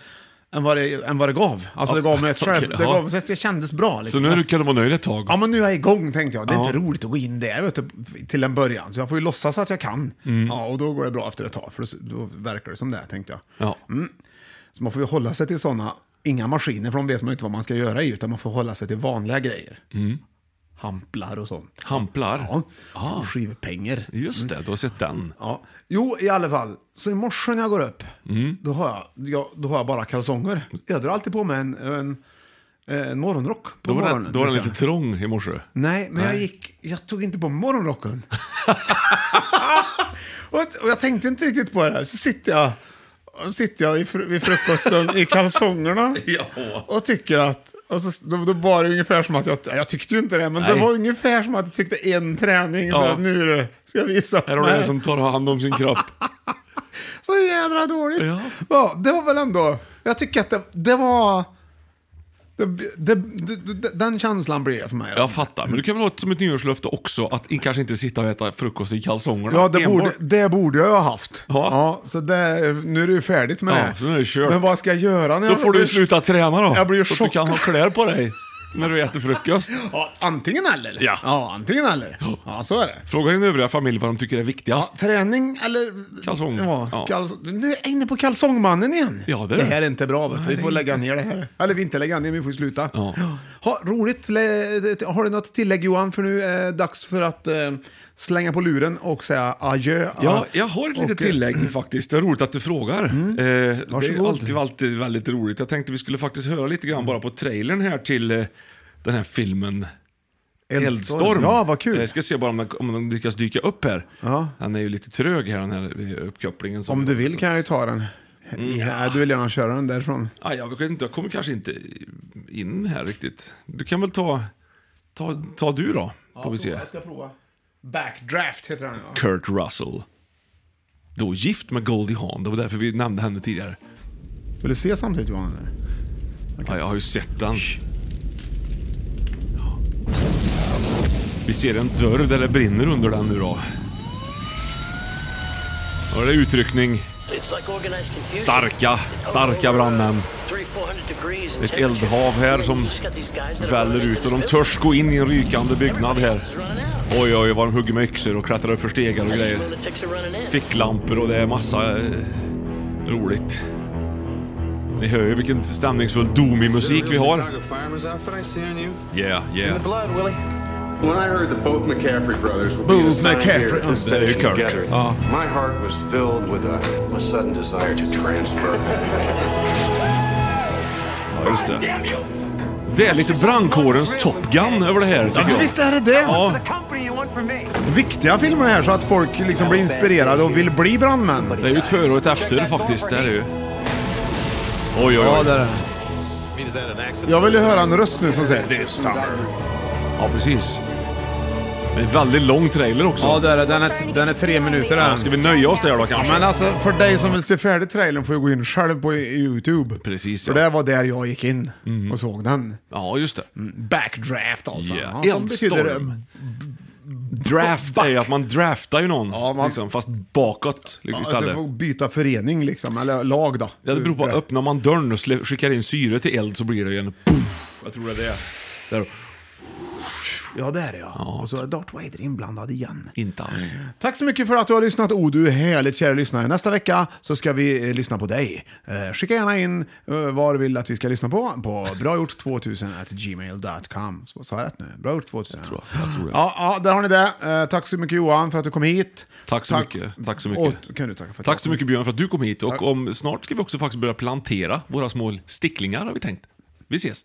Speaker 3: än vad det, än vad det gav. Alltså det gav mig ett
Speaker 1: Okej,
Speaker 3: själv, det
Speaker 1: ja.
Speaker 3: gav mig så att det kändes bra.
Speaker 1: Så
Speaker 3: Liksom.
Speaker 1: nu kan du vara nöjd ett tag.
Speaker 3: Ja men nu är jag igång tänkte jag. Det är
Speaker 1: Ja.
Speaker 3: inte roligt att gå in där vet du, till en början. Så jag får ju låtsas att jag kan.
Speaker 1: Mm.
Speaker 3: Ja, och då går det bra efter ett tag. För då, då verkar det som det tänkte jag.
Speaker 1: Ja.
Speaker 3: Så man får ju hålla sig till sådana, inga maskiner för de vet man ju inte vad man ska göra i. Utan man får hålla sig till vanliga grejer. Hamplar och sånt.
Speaker 1: Hamplar.
Speaker 3: Ja,
Speaker 1: Mm. Ah.
Speaker 3: skivpengar.
Speaker 1: Just det, du har sett den.
Speaker 3: Ja. Jo, i alla fall. Så i morse när jag går upp,
Speaker 1: Mm.
Speaker 3: då, har jag, jag, då har jag bara kalsonger. Jag drar alltid på mig en, en, en morgonrock på
Speaker 1: Då var,
Speaker 3: morgonen.
Speaker 1: den, då var den
Speaker 3: vet jag.
Speaker 1: lite trång i morse.
Speaker 3: Nej, men jag gick... Jag tog inte på morgonrocken. och, och jag tänkte inte riktigt på det här. Så sitter jag, och sitter jag i fr, vid frukosten i kalsongerna och tycker att... Och så, då, då var det ungefär som att jag... Jag tyckte ju inte det, men det
Speaker 1: Nej.
Speaker 3: var ungefär som att jag tyckte en träning. Så
Speaker 1: Ja.
Speaker 3: att nu är det- ska jag visa upp
Speaker 1: Här har du
Speaker 3: mig.
Speaker 1: en som tar hand om sin kropp.
Speaker 3: Så jädra dåligt.
Speaker 1: Ja.
Speaker 3: Ja. det var väl ändå... Jag tycker att det, det var... Det, det, det, det, den känslan blir det för mig.
Speaker 1: Jag fattar, men du kan väl ha ett, som ett nyårslöfte också att i- kanske inte sitta och äta frukost i kalsongerna.
Speaker 3: Ja, det
Speaker 1: enbart.
Speaker 3: borde, det borde jag ha haft.
Speaker 1: Ja.
Speaker 3: så det, nu är det ju färdigt med
Speaker 1: Ja,
Speaker 3: det.
Speaker 1: så nu är det kört.
Speaker 3: Men vad ska jag göra när
Speaker 1: Då
Speaker 3: jag...
Speaker 1: får du ju sluta träna då.
Speaker 3: Jag blir ju
Speaker 1: så att du kan ha kläder på dig när du äter frukost.
Speaker 3: Ja, antingen eller.
Speaker 1: Ja.
Speaker 3: ja, antingen eller. Ja, så är det.
Speaker 1: Fråga din övriga familj vad de tycker är viktigast.
Speaker 3: Träning eller...
Speaker 1: Kalsonger.
Speaker 3: Ja,
Speaker 1: Ja.
Speaker 3: Kals... Nu är jag inne på kalsongmannen igen.
Speaker 1: Ja, det är
Speaker 3: det
Speaker 1: det.
Speaker 3: här är inte bra. Vet du. Vi får lägga ner det här. Eller vi inte lägga ner, vi får ju sluta.
Speaker 1: Ja.
Speaker 3: Ha, roligt. Le- Har du något tillägg Johan? För nu är det dags för att eh, slänga på luren och säga adjö.
Speaker 1: Ja, jag har ett litet
Speaker 3: Och, eh,
Speaker 1: tillägg faktiskt. Det är roligt att du frågar. Eh, det är
Speaker 3: Mm. Varsågod.
Speaker 1: alltid, alltid väldigt roligt. Jag tänkte vi skulle faktiskt höra lite grann bara på trailern här till eh, den här filmen Eldstorm. Eh,
Speaker 3: Ja, vad kul.
Speaker 1: Jag ska se bara om den, om den lyckas dyka upp här.
Speaker 3: Ja.
Speaker 1: Han är ju lite trög här, den här eh, uppkopplingen. som-
Speaker 3: Om du
Speaker 1: så
Speaker 3: vill
Speaker 1: att-
Speaker 3: kan jag ju ta den. Ja, du vill gärna köra den därifrån.
Speaker 1: Ah, jag vet inte, jag kommer kanske inte in här riktigt. Du kan väl ta... Ta, ta du då, får vi se.
Speaker 3: ska prova. Backdraft heter den ja.
Speaker 1: Kurt Russell. Då gift med Goldie Hawn, det var därför vi nämnde henne tidigare.
Speaker 3: Vill du se samtidigt Johan? eller?
Speaker 1: Ja, jag har ju sett den. Ja. Vi ser en dörr där det brinner under den nu då. Och det är utryckning.
Speaker 5: Starka, starka brandmän. Ett eldhav här som väller ut och de törs
Speaker 1: törs gå in i en rykande byggnad här.
Speaker 5: här.
Speaker 1: Oj, oj, vad de hugger med yxor och klättrar upp för stegar och grejer.
Speaker 5: Fick
Speaker 1: Ficklampor och det är massa eh, roligt. Ni hör ju vilken stämningsfull Doomy-musik vi har.
Speaker 9: Fireman's outfit I see on you.
Speaker 1: Yeah, yeah.
Speaker 9: blood, Willie.
Speaker 10: When I heard that both McCaffrey brothers would be
Speaker 3: Both
Speaker 10: assigned here
Speaker 3: McCaffrey-
Speaker 10: at this
Speaker 1: Oh, there you
Speaker 10: station
Speaker 1: go.
Speaker 10: together,
Speaker 3: Ah.
Speaker 1: Oh.
Speaker 10: my heart was filled with a, a sudden desire to transfer.
Speaker 1: Ja, just det. Det är lite brandkårens Top Gun över det här tycker
Speaker 3: Ja,
Speaker 1: jag.
Speaker 3: visst är det det!
Speaker 1: Ja,
Speaker 3: Viktiga filmer här så att folk liksom blir inspirerade och vill bli brandmän.
Speaker 1: det är ju ett före och ett efter faktiskt. Det är det ju. Oj, oj, oj.
Speaker 3: är Jag vill ju höra en röst nu som säger This summer.
Speaker 1: Ja, precis. Det är en väldigt lång trailer också.
Speaker 3: är det. Den är, den är tre minuter
Speaker 1: Ja, Ska vi nöja oss där då kanske?
Speaker 3: Men alltså, för dig som vill se färdigt trailern får ju gå in själv på YouTube.
Speaker 1: Precis
Speaker 3: För det
Speaker 1: ja.
Speaker 3: var där jag gick in och såg den.
Speaker 1: Ja, just det.
Speaker 3: Mm. Backdraft alltså.
Speaker 1: Yeah.
Speaker 3: Ja, som betyder-
Speaker 1: Eldstorm. Draft är ju att man draftar ju någon.
Speaker 3: Ja, man-
Speaker 1: Liksom, fast bakåt liksom,
Speaker 3: Ja, du
Speaker 1: istället.
Speaker 3: får byta förening liksom, eller lag då.
Speaker 1: Ja, det beror på. Öppnar man dörren och slä- skickar in syre till eld så blir det ju en... Puff, jag tror det är det. Där.
Speaker 3: Ja, det är det ja. Och så är Darth Vader inblandad igen.
Speaker 1: Inte alls.
Speaker 3: Tack så mycket för att du har lyssnat. Oh, du är härligt kära lyssnare. Nästa vecka så ska vi eh, lyssna på dig. Eh, skicka gärna in eh, vad du vill att vi ska lyssna på på bragjort2000 Så Sa jag rätt nu? Bragjort2000. Jag
Speaker 1: tror- jag tror det.
Speaker 3: Ja, ja, där har ni det. Eh, tack så mycket Johan för att du kom hit.
Speaker 1: Tack så mycket. Tack så mycket.
Speaker 3: Och, kan du tacka för att
Speaker 1: Tack så
Speaker 3: jag kom
Speaker 1: mycket Björn för att du kom hit och om, snart ska vi också faktiskt börja plantera våra små sticklingar har vi tänkt. Vi ses!